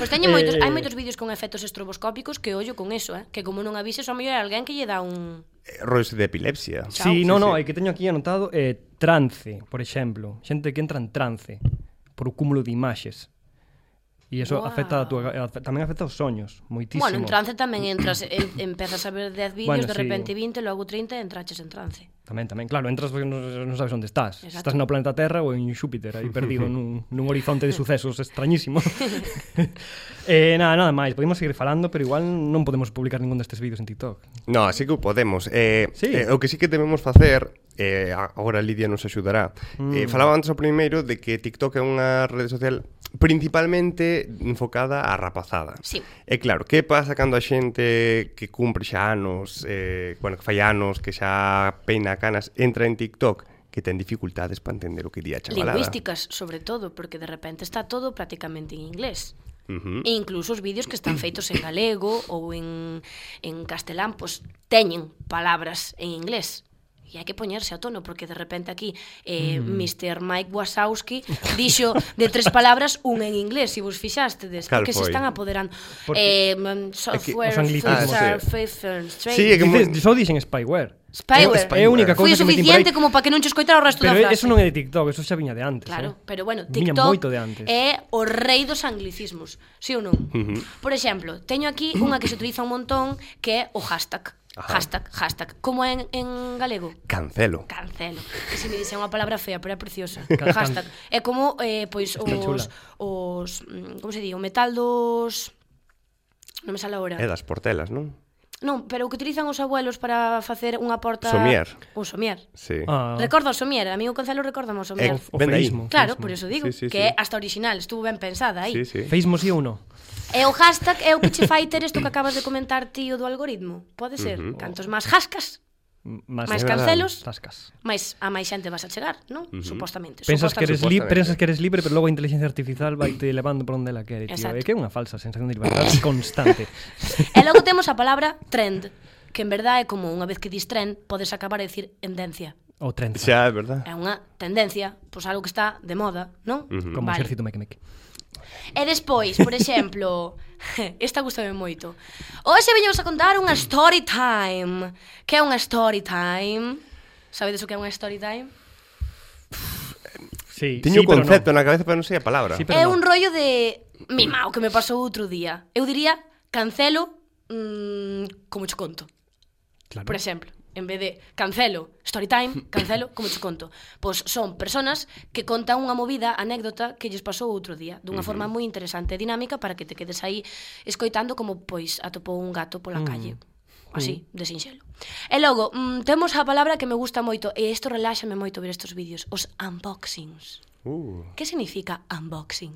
[SPEAKER 3] Pois teño moitos,
[SPEAKER 4] Eh,
[SPEAKER 3] hai moitos vídeos con efectos estroboscópicos que ollo con eso, eh? Que como non avises, ao mellor é alguén que lle dá un...
[SPEAKER 2] Eh, Rollos de epilepsia.
[SPEAKER 3] Chao.
[SPEAKER 4] sí, no,
[SPEAKER 2] Sí,
[SPEAKER 4] no,
[SPEAKER 2] sí.
[SPEAKER 4] hai que teño aquí anotado eh, trance, por exemplo. Xente que entra en trance por o cúmulo de imaxes. E iso
[SPEAKER 3] Guau.
[SPEAKER 4] afecta a tua, afe- tamén afecta aos soños, moitísimo.
[SPEAKER 3] Bueno, en trance tamén entras, en, empezas a ver 10 vídeos,
[SPEAKER 4] Bueno,
[SPEAKER 3] de
[SPEAKER 4] sí.
[SPEAKER 3] repente 20, logo 30 e entraches en trance.
[SPEAKER 4] Tamén, tamén, claro, entras porque non, non sabes onde estás.
[SPEAKER 3] Exacto.
[SPEAKER 4] Estás no planeta Terra ou en Xúpiter, aí perdido nun, nun horizonte de sucesos extrañísimo. eh, nada, nada máis, podemos seguir falando, pero igual non podemos publicar ningún destes vídeos en TikTok.
[SPEAKER 2] No, así que o podemos. Eh,
[SPEAKER 4] Sí.
[SPEAKER 2] eh, o que sí que debemos facer, eh, a- agora Lidia nos axudará. Eh,
[SPEAKER 4] Mm.
[SPEAKER 2] falaba antes o primeiro de que TikTok é unha rede social principalmente enfocada á rapazada.
[SPEAKER 3] Sí.
[SPEAKER 2] E claro, que pasa cando a xente que cumpre xa anos, eh, bueno, que fai anos, que xa peina canas, entra en TikTok que ten dificultades para entender o que di a chavalada.
[SPEAKER 3] Lingüísticas, sobre todo, porque de repente está todo prácticamente en inglés.
[SPEAKER 4] Mm.
[SPEAKER 2] Ujú.
[SPEAKER 3] E incluso os vídeos que están feitos en galego ou en, en castelán, pois teñen palabras en inglés. E hai que poñerse a tono, porque de repente aquí eh, mm. Mr. Mike Wazowski dixo de tres palabras un en inglés, se vos fixastedes,
[SPEAKER 2] Cal
[SPEAKER 3] porque se
[SPEAKER 2] foi?
[SPEAKER 3] están apoderando. Porque, eh,
[SPEAKER 4] Porque-
[SPEAKER 3] mm, software,
[SPEAKER 4] os anglicismos.
[SPEAKER 2] Ah,
[SPEAKER 3] software,
[SPEAKER 2] sí.
[SPEAKER 3] faithful,
[SPEAKER 2] Sí, é que
[SPEAKER 4] Dices,
[SPEAKER 2] mo-
[SPEAKER 4] só dixen spyware.
[SPEAKER 3] Spyware.
[SPEAKER 4] É a única
[SPEAKER 3] Foi o
[SPEAKER 4] cousa que me
[SPEAKER 3] suficiente
[SPEAKER 4] timbrei.
[SPEAKER 3] como para que non che escoitara o resto
[SPEAKER 4] Pero
[SPEAKER 3] da frase.
[SPEAKER 4] eso non é de TikTok, eso xa viña de antes.
[SPEAKER 3] Claro,
[SPEAKER 4] eh.
[SPEAKER 3] pero bueno,
[SPEAKER 4] Viña
[SPEAKER 3] TikTok eh,
[SPEAKER 4] moito de antes.
[SPEAKER 3] é o rei dos anglicismos, sí ou non?
[SPEAKER 2] Ujú.
[SPEAKER 3] Por exemplo, teño aquí unha que se utiliza un montón que é o hashtag.
[SPEAKER 2] Ajá.
[SPEAKER 3] Hashtag, hashtag. Como é en, en galego?
[SPEAKER 2] Cancelo.
[SPEAKER 3] Cancelo. Que se me dice unha palabra fea, pero é preciosa.
[SPEAKER 4] Can-
[SPEAKER 3] hashtag. É como eh, pois
[SPEAKER 4] Está chula.
[SPEAKER 3] os, os mm, como se di, o metal dos Non me sale agora.
[SPEAKER 2] É das portelas, non?
[SPEAKER 3] Non, pero o que utilizan os abuelos para facer unha porta
[SPEAKER 2] Somier.
[SPEAKER 3] O somier.
[SPEAKER 2] Sí.
[SPEAKER 4] Ah,
[SPEAKER 3] Recorda o somier, a mí o Cancelo recorda o somier.
[SPEAKER 2] Eh,
[SPEAKER 4] o
[SPEAKER 2] Ven aí.
[SPEAKER 4] feísmo.
[SPEAKER 3] Claro,
[SPEAKER 4] feísmo.
[SPEAKER 3] por eso digo,
[SPEAKER 2] Sí, sí,
[SPEAKER 3] que
[SPEAKER 2] sí.
[SPEAKER 3] é hasta original, estuvo ben pensada aí.
[SPEAKER 2] Sí, sí.
[SPEAKER 4] Feísmo sí ou non?
[SPEAKER 3] E o hashtag é o que che fai ter isto que acabas de comentar ti o do algoritmo. Pode ser, uh -huh. cantos máis hascas,
[SPEAKER 4] M- Más,
[SPEAKER 2] é
[SPEAKER 3] máis
[SPEAKER 2] verdade.
[SPEAKER 3] cancelos,
[SPEAKER 4] Tascas.
[SPEAKER 3] máis a máis xente vas a chegar, non? Uh -huh. Supostamente.
[SPEAKER 4] Pensas que, eres li
[SPEAKER 2] Supostamente.
[SPEAKER 4] pensas que eres libre, pero logo a inteligencia artificial vai te levando por onde la quere, tío.
[SPEAKER 3] Exacto.
[SPEAKER 4] É que é unha falsa sensación de libertad constante.
[SPEAKER 3] E logo temos a palabra trend, que en verdad é como unha vez que dis trend, podes acabar a decir endencia.
[SPEAKER 4] Ou trenza.
[SPEAKER 2] Xa, é verdad.
[SPEAKER 3] É unha tendencia, pois algo que está de moda, non? Uh
[SPEAKER 4] Como vale. exército meque meque.
[SPEAKER 3] E despois, por exemplo, esta gustame moito. Hoxe veñemos a contar unha story time. Que é unha story time? Sabedes o que é unha story time?
[SPEAKER 4] Sí,
[SPEAKER 2] Tiño
[SPEAKER 4] sí,
[SPEAKER 2] un
[SPEAKER 4] pero
[SPEAKER 2] concepto
[SPEAKER 4] no.
[SPEAKER 2] na cabeza, pero non sei a palabra.
[SPEAKER 4] Sí, pero-
[SPEAKER 3] É
[SPEAKER 4] no.
[SPEAKER 3] un rollo de mimao que me pasou outro día. Eu diría cancelo mm, como cho conto.
[SPEAKER 4] Claro.
[SPEAKER 3] Por exemplo, en vez de cancelo, story time, cancelo, como che conto. Pois son personas que contan unha movida, anécdota que lles pasou outro día, dunha forma moi interesante e dinámica para que te quedes aí escoitando como pois atopou un gato
[SPEAKER 4] Mm.
[SPEAKER 3] pola calle. Así, de sinxelo. E logo, mm, temos a palabra que me gusta moito, e isto reláxame moito ver estes vídeos, os unboxings.
[SPEAKER 2] Uh,
[SPEAKER 3] Que significa unboxing?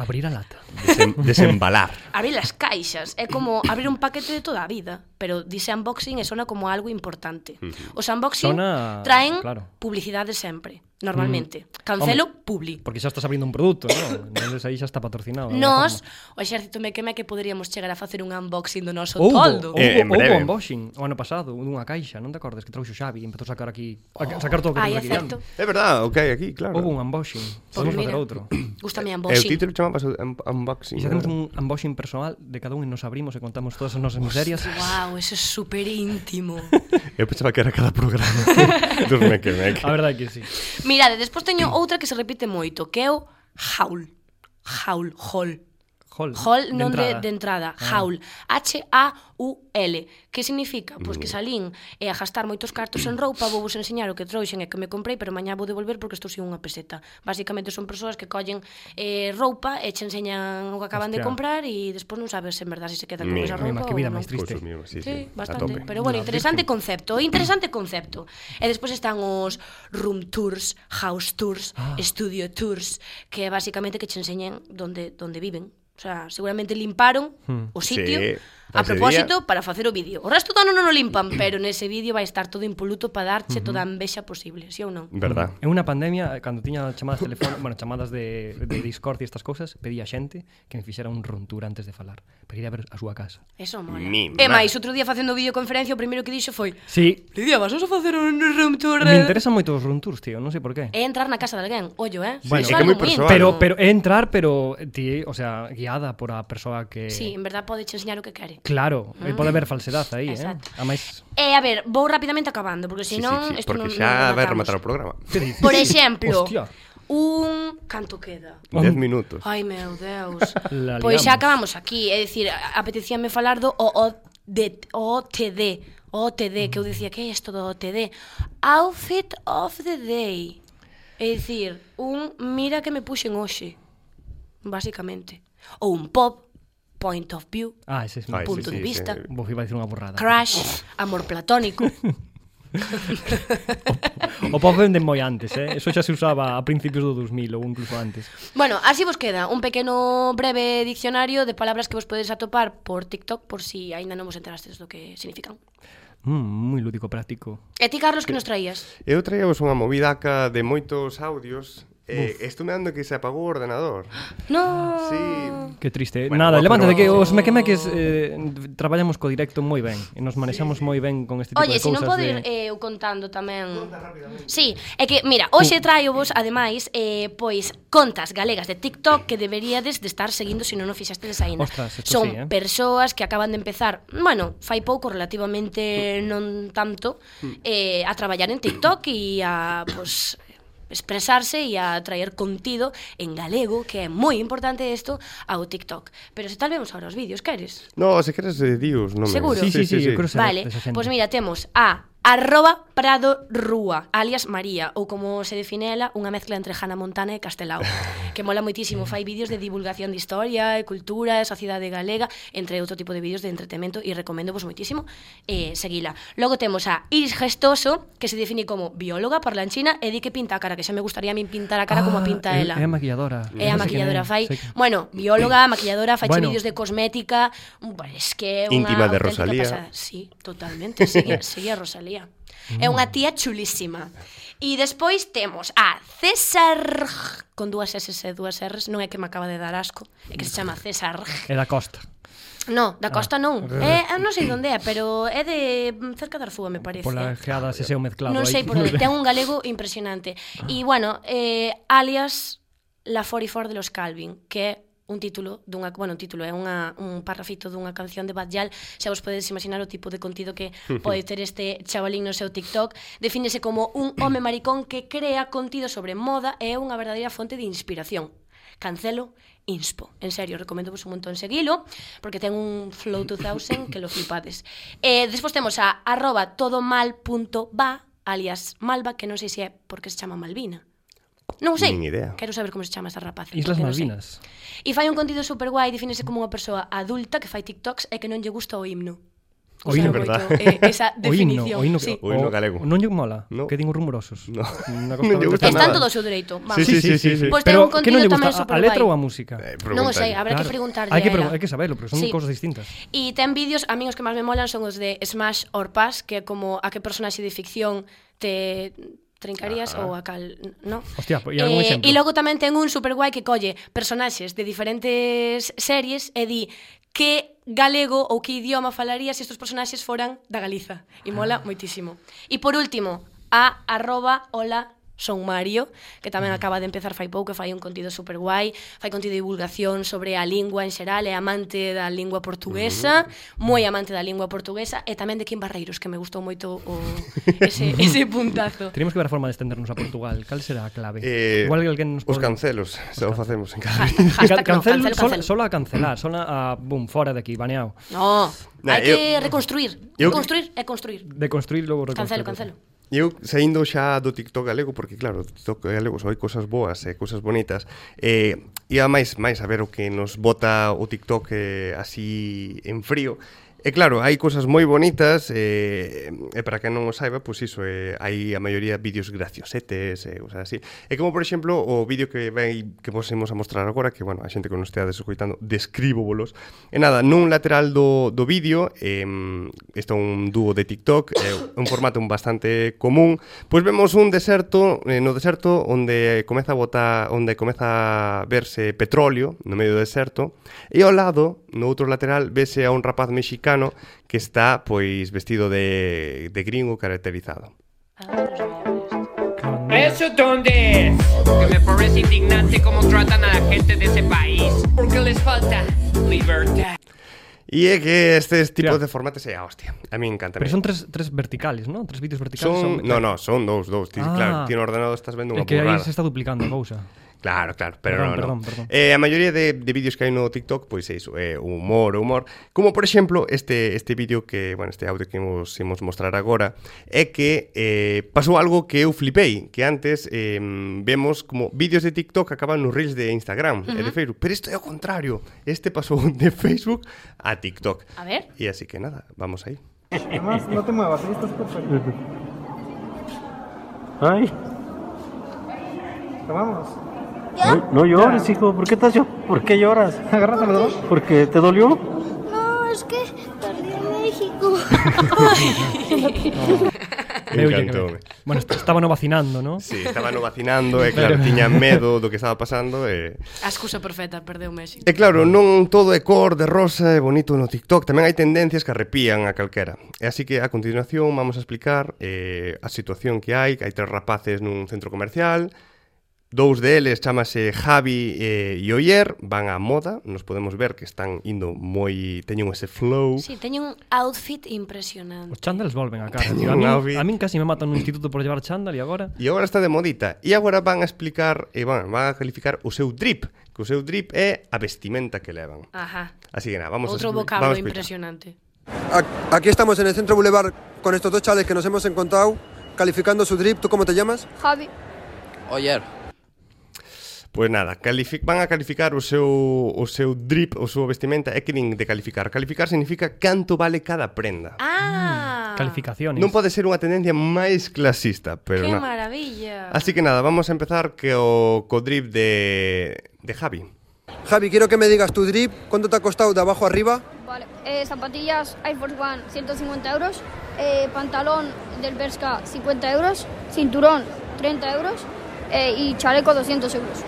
[SPEAKER 4] Abrir a lata.
[SPEAKER 2] desem- desembalar.
[SPEAKER 3] Abrir as caixas é como abrir un paquete de toda a vida, pero dice unboxing e sona como algo importante. Os unboxing
[SPEAKER 4] Sona-
[SPEAKER 3] traen
[SPEAKER 4] claro. Mm.
[SPEAKER 3] publicidade sempre, normalmente. Cancelo, publi.
[SPEAKER 4] Porque xa estás abrindo un produto, non? Entonces aí xa está patrocinado. de alguma
[SPEAKER 3] Nos,
[SPEAKER 4] forma.
[SPEAKER 3] o exército meque que poderíamos chegar a facer un unboxing do noso
[SPEAKER 4] Houbo,
[SPEAKER 3] toldo.
[SPEAKER 4] houbo,
[SPEAKER 2] Eh, en breve.
[SPEAKER 4] houbo unboxing o ano pasado, dunha caixa, non te acordes que trouxo Xavi e empezou a sacar aquí, a ca- sacar todo o que
[SPEAKER 3] Oh. Ai, Pois é
[SPEAKER 4] tenía aquí
[SPEAKER 3] certo.
[SPEAKER 4] dentro.
[SPEAKER 2] É verdad, o que hai aquí, claro.
[SPEAKER 4] Houbo un unboxing, podemos facer outro.
[SPEAKER 3] Gustame
[SPEAKER 2] E o
[SPEAKER 3] unboxing.
[SPEAKER 2] título chamaba unboxing.
[SPEAKER 4] E se hacemos
[SPEAKER 2] ¿verdad?
[SPEAKER 4] un unboxing personal de cada un e nos abrimos e contamos todas as nosas miserias.
[SPEAKER 3] Wow, eso é super íntimo.
[SPEAKER 2] Eu pensaba que era cada programa. Dos meque, meque.
[SPEAKER 4] A verdade que sí.
[SPEAKER 3] Mirade, despois teño outra que se repite moito, que é o howl. Howl, hall.
[SPEAKER 4] Hall,
[SPEAKER 3] Hall non de,
[SPEAKER 4] entrada. Ah.
[SPEAKER 3] de entrada, howl, H-A-U-L, que significa? Pois que salín e a gastar moitos cartos en roupa, vou vos enseñar o que trouxen e que me comprei, pero mañá vou devolver porque estou sin unha peseta. Básicamente son persoas que collen eh, roupa e che enseñan o que acaban Hostia. de
[SPEAKER 4] Hostia.
[SPEAKER 3] comprar e despois non sabes en verdad se se quedan con
[SPEAKER 2] Mima.
[SPEAKER 3] esa
[SPEAKER 4] Mima,
[SPEAKER 3] roupa
[SPEAKER 4] que vida
[SPEAKER 3] ou non.
[SPEAKER 4] máis triste.
[SPEAKER 2] Pues, mira, sí, sí,
[SPEAKER 3] Sí,
[SPEAKER 2] a tope.
[SPEAKER 3] bastante. Pero bueno,
[SPEAKER 4] Unha
[SPEAKER 3] interesante concepto, interesante concepto. E despois están os room tours, house tours,
[SPEAKER 2] Ah.
[SPEAKER 3] studio tours, que é basicamente que che enseñen donde donde viven. O sea, seguramente limparon o sitio
[SPEAKER 2] Hmm. Sí,
[SPEAKER 3] a
[SPEAKER 2] ese
[SPEAKER 3] propósito
[SPEAKER 2] día.
[SPEAKER 3] para facer o vídeo. O resto do ano non o limpan, pero nese vídeo vai estar todo impoluto para darche toda a envexa posible, si ¿sí ou non?
[SPEAKER 2] Verdad.
[SPEAKER 4] En unha pandemia, eh, cando tiña chamadas telefónicas, bueno, chamadas de, de Discord e estas cousas, pedía xente que me fixera un runtur antes de falar, para ir a ver a súa casa.
[SPEAKER 3] Eso mola.
[SPEAKER 2] Mi
[SPEAKER 3] e
[SPEAKER 2] má.
[SPEAKER 3] máis, outro día facendo videoconferencia, o primeiro que dixo foi
[SPEAKER 4] Sí,
[SPEAKER 3] Lidia, vas a facer un room tour?
[SPEAKER 4] me
[SPEAKER 3] eh?"
[SPEAKER 4] interesan moito os runtours, tío, non sei por qué.
[SPEAKER 3] É entrar na casa de alguén, ollo, eh?
[SPEAKER 2] Bueno, é que
[SPEAKER 3] Iso algo
[SPEAKER 2] moi persoal.
[SPEAKER 4] Pero
[SPEAKER 3] íntimo.
[SPEAKER 4] pero é entrar, pero eh, ti, o sea, guiada por a persoa que
[SPEAKER 3] Sí, en verdad pode enseñar o que quere.
[SPEAKER 4] Claro, mm. pode haber falsedade aí,
[SPEAKER 3] Exacto.
[SPEAKER 4] eh. A máis
[SPEAKER 3] E a ver, vou rapidamente acabando, porque
[SPEAKER 2] Sí, sí,
[SPEAKER 3] senón
[SPEAKER 2] sí,
[SPEAKER 3] isto
[SPEAKER 2] porque
[SPEAKER 3] non,
[SPEAKER 2] xa
[SPEAKER 3] non
[SPEAKER 2] vai
[SPEAKER 3] rematamos.
[SPEAKER 2] rematar o programa.
[SPEAKER 3] Por exemplo,
[SPEAKER 4] Hostia.
[SPEAKER 3] un canto queda.
[SPEAKER 2] Dez minutos.
[SPEAKER 3] Ai meu Deus.
[SPEAKER 4] La
[SPEAKER 3] pois xa acabamos
[SPEAKER 4] liamos.
[SPEAKER 3] aquí, é dicir, a- apetecíame falar do OOD, OTD, OTD, que eu
[SPEAKER 4] Mm.
[SPEAKER 3] dicía que é isto do OTD, Outfit of the Day. É dicir, un mira que me puxen hoxe, basicamente. Ou un pop, point of view,
[SPEAKER 4] Ah, ese es
[SPEAKER 2] Ay,
[SPEAKER 4] mi
[SPEAKER 2] sí,
[SPEAKER 3] punto
[SPEAKER 2] sí,
[SPEAKER 3] de vista.
[SPEAKER 2] sí.
[SPEAKER 4] Vos iba a decir unha borrada.
[SPEAKER 3] crush, amor platónico.
[SPEAKER 4] O pop venden moi antes, eh. Eso xa se usaba a principios do 2000 ou incluso antes.
[SPEAKER 3] Bueno, así vos queda un pequeno breve diccionario de palabras que vos podedes atopar por TikTok por si aínda non vos enterastes do que significan.
[SPEAKER 4] Mm, moi lúdico práctico.
[SPEAKER 3] E ti, Carlos, que nos traías?
[SPEAKER 2] Eu traíamos unha movidaca de moitos audios e eh, estou me dando que se apagou o ordenador.
[SPEAKER 4] Ah.
[SPEAKER 3] No.
[SPEAKER 2] Ah, Sí,
[SPEAKER 4] Que
[SPEAKER 2] Bueno,
[SPEAKER 4] triste. Bueno, Nada,
[SPEAKER 2] pero-
[SPEAKER 4] levántate que os mequemeques eh, traballamos co directo moi ben e nos manexamos moi ben con este tipo
[SPEAKER 3] Olle,
[SPEAKER 4] de
[SPEAKER 3] se
[SPEAKER 4] cousas.
[SPEAKER 3] non podo ir
[SPEAKER 4] de...
[SPEAKER 3] eh, eu contando tamén. Sí, é que, mira, hoxe traio vos, ademais, eh, pois, contas galegas de TikTok que deberíades de estar seguindo se non o fixastedes aínda.
[SPEAKER 4] Ostras, esto
[SPEAKER 3] Son
[SPEAKER 4] sí, eh.
[SPEAKER 3] persoas que acaban de empezar, bueno, fai pouco relativamente
[SPEAKER 4] Mm.
[SPEAKER 3] non tanto, eh, a traballar en TikTok e a, pois, expresarse e a traer contido en galego, que é moi importante isto, ao TikTok. Pero se tal vemos ahora os vídeos, queres?
[SPEAKER 2] No, se queres de Dios, non me.
[SPEAKER 3] Seguro.
[SPEAKER 4] Sí, sí, sí, eu creo que
[SPEAKER 3] Vale,
[SPEAKER 4] desa xente.
[SPEAKER 3] pois mira, temos a arroba Prado Rúa, alias María, ou como se define ela, unha mezcla entre Hannah Montana e Castelao, que mola moitísimo, fai vídeos de divulgación de historia, e cultura, e sociedade galega, entre outro tipo de vídeos de entretemento, e recomendo vos moitísimo eh, seguila. Logo temos a Iris Gestoso, que se define como bióloga parlanchina, e di que pinta a cara, que xa me gustaría a min pintar a cara como a pinta
[SPEAKER 4] Ah, é-
[SPEAKER 3] ela.
[SPEAKER 4] É a maquilladora.
[SPEAKER 3] É Eh, a
[SPEAKER 4] Non sei quen
[SPEAKER 3] maquilladora fai,
[SPEAKER 4] sei que-
[SPEAKER 3] bueno, bióloga, maquilladora, fai
[SPEAKER 4] Bueno.
[SPEAKER 3] bueno. vídeos de cosmética, bueno, es que é unha
[SPEAKER 2] Íntima de
[SPEAKER 3] auténtica
[SPEAKER 2] Rosalía.
[SPEAKER 3] pasada. Sí, totalmente, sigue, sigue a Rosalía. É
[SPEAKER 4] Mm.
[SPEAKER 3] unha tía chulísima. E despois temos a César con dúas S e dúas R's, non é que me acaba de dar asco, é que se chama César.
[SPEAKER 4] É da Costa.
[SPEAKER 3] No,
[SPEAKER 4] Ah.
[SPEAKER 3] da Costa non. É, non sei onde é, pero é de mm, cerca de Arzúa, me parece.
[SPEAKER 4] Pola geada se seu mezclado.
[SPEAKER 3] Non
[SPEAKER 4] aí. Ah.
[SPEAKER 3] sei por onde, ten un galego impresionante. E, bueno, eh, alias La 44 de los Calvin, que é un título dunha, bueno, un título é unha un parrafito dunha canción de Bad Yal, xa vos podedes imaginar o tipo de contido que pode ter este chavalín no seu TikTok. Defínese como un home maricón que crea contido sobre moda e é unha verdadeira fonte de inspiración. Cancelo Inspo. En serio, recomendo vos un montón seguilo, porque ten un Flow 2000 que lo flipades. Eh, despois temos a arroba todomal.va, alias Malva, que non sei se é porque se chama Malvina. Non sei.
[SPEAKER 2] Nin idea.
[SPEAKER 3] Quero saber como se chama esa rapaza.
[SPEAKER 4] Islas
[SPEAKER 3] porque non sei.
[SPEAKER 4] Malvinas.
[SPEAKER 3] E fai un contido super guai, defínese como unha persoa adulta que fai TikToks e que non lle gusta o himno.
[SPEAKER 4] O himno,
[SPEAKER 3] moito,
[SPEAKER 2] verdad.
[SPEAKER 3] eh, esa
[SPEAKER 4] O himno,
[SPEAKER 3] definición.
[SPEAKER 4] o himno,
[SPEAKER 3] sí.
[SPEAKER 2] O himno galego.
[SPEAKER 4] Non lle mola,
[SPEAKER 2] No.
[SPEAKER 4] que din os rumorosos.
[SPEAKER 2] No.
[SPEAKER 4] Unha
[SPEAKER 2] Non lle gusta
[SPEAKER 3] Está
[SPEAKER 2] nada.
[SPEAKER 3] en todo o seu dereito. Vamos.
[SPEAKER 2] Sí, sí, sí, sí. sí.
[SPEAKER 3] Pois ten
[SPEAKER 4] Pero
[SPEAKER 3] un
[SPEAKER 4] que non lle
[SPEAKER 3] contido
[SPEAKER 4] gusta
[SPEAKER 3] tamén superguai.
[SPEAKER 4] a, a letra ou a música?
[SPEAKER 2] Eh,
[SPEAKER 3] Non o
[SPEAKER 2] pregúntalle.
[SPEAKER 3] sei, habrá que preguntarlle
[SPEAKER 4] Hai
[SPEAKER 3] a
[SPEAKER 4] que,
[SPEAKER 3] ela.
[SPEAKER 4] pregu- hai que sabelo, porque son
[SPEAKER 3] Sí.
[SPEAKER 4] cousas distintas.
[SPEAKER 3] E ten vídeos, a min os que máis me molan son os de Smash or Pass, que é como a que personaxe de ficción te trincarías
[SPEAKER 2] Ah.
[SPEAKER 3] ou a cal, no? Eh,
[SPEAKER 4] Hostia, pois, e algún
[SPEAKER 3] e
[SPEAKER 4] exemplo?
[SPEAKER 3] logo tamén ten un super guai que colle personaxes de diferentes series e di que galego ou que idioma falaría se estes personaxes foran da Galiza. E mola moitísimo. E por último, a arroba hola son Mario, que tamén acaba de empezar fai pouco, e fai un contido super guai, fai contido de divulgación sobre a lingua en xeral, é amante da lingua portuguesa, moi amante da lingua portuguesa, e tamén de Kim Barreiros, que me gustou moito o, ese, ese puntazo.
[SPEAKER 4] Teríamos que ver a forma de extendernos a Portugal. Cal será a clave?
[SPEAKER 2] Eh,
[SPEAKER 4] Igual que alguén nos
[SPEAKER 2] Os
[SPEAKER 4] pode-
[SPEAKER 2] cancelos, se o facemos en cada
[SPEAKER 3] Hashtag, hashtag no,
[SPEAKER 4] Cancel-
[SPEAKER 3] cancelo,
[SPEAKER 4] solo-
[SPEAKER 3] cancelo.
[SPEAKER 4] Solo a cancelar, solo a... Boom, fora de aquí, baneado.
[SPEAKER 3] No,
[SPEAKER 2] Nah,
[SPEAKER 3] hai que
[SPEAKER 2] eu-
[SPEAKER 3] reconstruir.
[SPEAKER 2] eu-
[SPEAKER 3] Reconstruir e construir.
[SPEAKER 4] De construir logo
[SPEAKER 3] Cancelo,
[SPEAKER 4] reconstruir.
[SPEAKER 3] cancelo.
[SPEAKER 2] Eu saindo xa do TikTok galego porque claro, do TikTok galego só hai cousas boas e cousas bonitas. Eh, e a máis máis a ver o que nos bota o TikTok eh, así en frío. E claro, hai cousas moi bonitas eh, e para que non o saiba, pois iso, eh, hai a maioría vídeos graciosetes e eh, cousas así. E como por exemplo o vídeo que vai que vos imos a mostrar agora, que bueno, a xente que non esteades escoitando, descríbovolos. E nada, nun lateral do, do vídeo, eh, isto é un dúo de TikTok, é un formato bastante común, pois vemos un deserto, eh, no deserto onde comeza a botar, onde comeza a verse petróleo no medio do deserto, e ao lado, no outro lateral, vese a un rapaz mexicano que está pois vestido de, de gringo caracterizado.
[SPEAKER 1] ¿Eso dónde es? Que me parece indignante cómo tratan a la gente de ese país. Porque les falta libertad.
[SPEAKER 2] E é que estes tipos
[SPEAKER 4] Tía.
[SPEAKER 2] de formatos é a hostia. A mí encanta.
[SPEAKER 4] Pero son tres, tres verticales, ¿no? Tres vídeos verticales.
[SPEAKER 2] Son, no, no, son dous, dous. Ti,
[SPEAKER 4] Ah.
[SPEAKER 2] Claro, ti no ordenado estás vendo
[SPEAKER 4] É
[SPEAKER 2] unha
[SPEAKER 4] que aí
[SPEAKER 2] burrada.
[SPEAKER 4] se está duplicando a cousa.
[SPEAKER 2] Claro, claro, pero
[SPEAKER 4] Perdón,
[SPEAKER 2] no, no.
[SPEAKER 4] perdón, perdón.
[SPEAKER 2] Eh, a maioría de, de vídeos que hai no TikTok, pois é iso, é humor, humor. Como por exemplo, este este vídeo que, bueno, este audio que imos, imos mostrar agora, é que eh, pasou algo que eu flipei, que antes eh, vemos como vídeos de TikTok acaban nos reels de Instagram uh -huh. e de Facebook, pero isto é o contrario. Este pasou de Facebook a TikTok.
[SPEAKER 3] A ver.
[SPEAKER 2] E así que nada, vamos aí.
[SPEAKER 5] Además, no te muevas, ahí estás pues. perfecto.
[SPEAKER 6] Ay,
[SPEAKER 5] Vamos.
[SPEAKER 6] no, no llores, hijo. ¿Por qué estás yo? ¿Por qué lloras?
[SPEAKER 5] Agárrate los dos.
[SPEAKER 6] ¿Porque te dolió?
[SPEAKER 7] No, es que perdí a México.
[SPEAKER 2] Encantoume.
[SPEAKER 4] Bueno, est- estaba no vacinando, ¿no?
[SPEAKER 2] Sí, estaba no vacinando e claro, tiña medo do que estaba pasando eh, e...
[SPEAKER 3] A excusa perfecta, perdeu Messi.
[SPEAKER 2] E Eh, claro, non todo é cor de rosa e bonito no TikTok, tamén hai tendencias que arrepían a calquera. E así que a continuación vamos a explicar eh, a situación que hai, que hai tres rapaces nun centro comercial, Dous deles chamase Javi eh, e Oyer, van á moda, nos podemos ver que están indo moi... teñen ese flow.
[SPEAKER 3] Sí, teñen un outfit impresionante.
[SPEAKER 4] Os chándales volven a casa.
[SPEAKER 2] Teño
[SPEAKER 4] tío. A
[SPEAKER 2] un
[SPEAKER 4] min,
[SPEAKER 2] outfit.
[SPEAKER 4] a min casi me matan no instituto por llevar chándal e agora...
[SPEAKER 2] E agora está de modita. E agora van a explicar, e van, van a calificar o seu drip, que o seu drip é a vestimenta que levan.
[SPEAKER 3] Ajá.
[SPEAKER 2] Así que nada, vamos a
[SPEAKER 3] Outro
[SPEAKER 2] expli- vamos a
[SPEAKER 3] vocablo
[SPEAKER 2] explicar.
[SPEAKER 3] impresionante.
[SPEAKER 7] A- Aquí estamos en el centro Boulevard con estos dos chales que nos hemos encontrado, calificando su drip. ¿Tú cómo te llamas?
[SPEAKER 8] Javi.
[SPEAKER 9] Oyer,
[SPEAKER 2] Pois nada, calific, van a calificar o seu, o seu drip, o seu vestimenta, é que nin de calificar. Calificar significa canto vale cada prenda.
[SPEAKER 3] Ah,
[SPEAKER 4] Mm, Calificaciones.
[SPEAKER 2] non pode ser unha tendencia máis clasista, pero Ah,
[SPEAKER 3] que
[SPEAKER 2] na-
[SPEAKER 3] maravilla.
[SPEAKER 2] Así que nada, vamos a empezar que o co drip de, de Javi.
[SPEAKER 7] Javi, quiero que me digas tu drip, ¿cuánto te ha costado de abajo arriba?
[SPEAKER 8] Vale. Eh, zapatillas Air Force One, 150 euros. Eh, pantalón del Berska, 50 euros. Cinturón, 30 euros. Eh, y chaleco, 200 euros.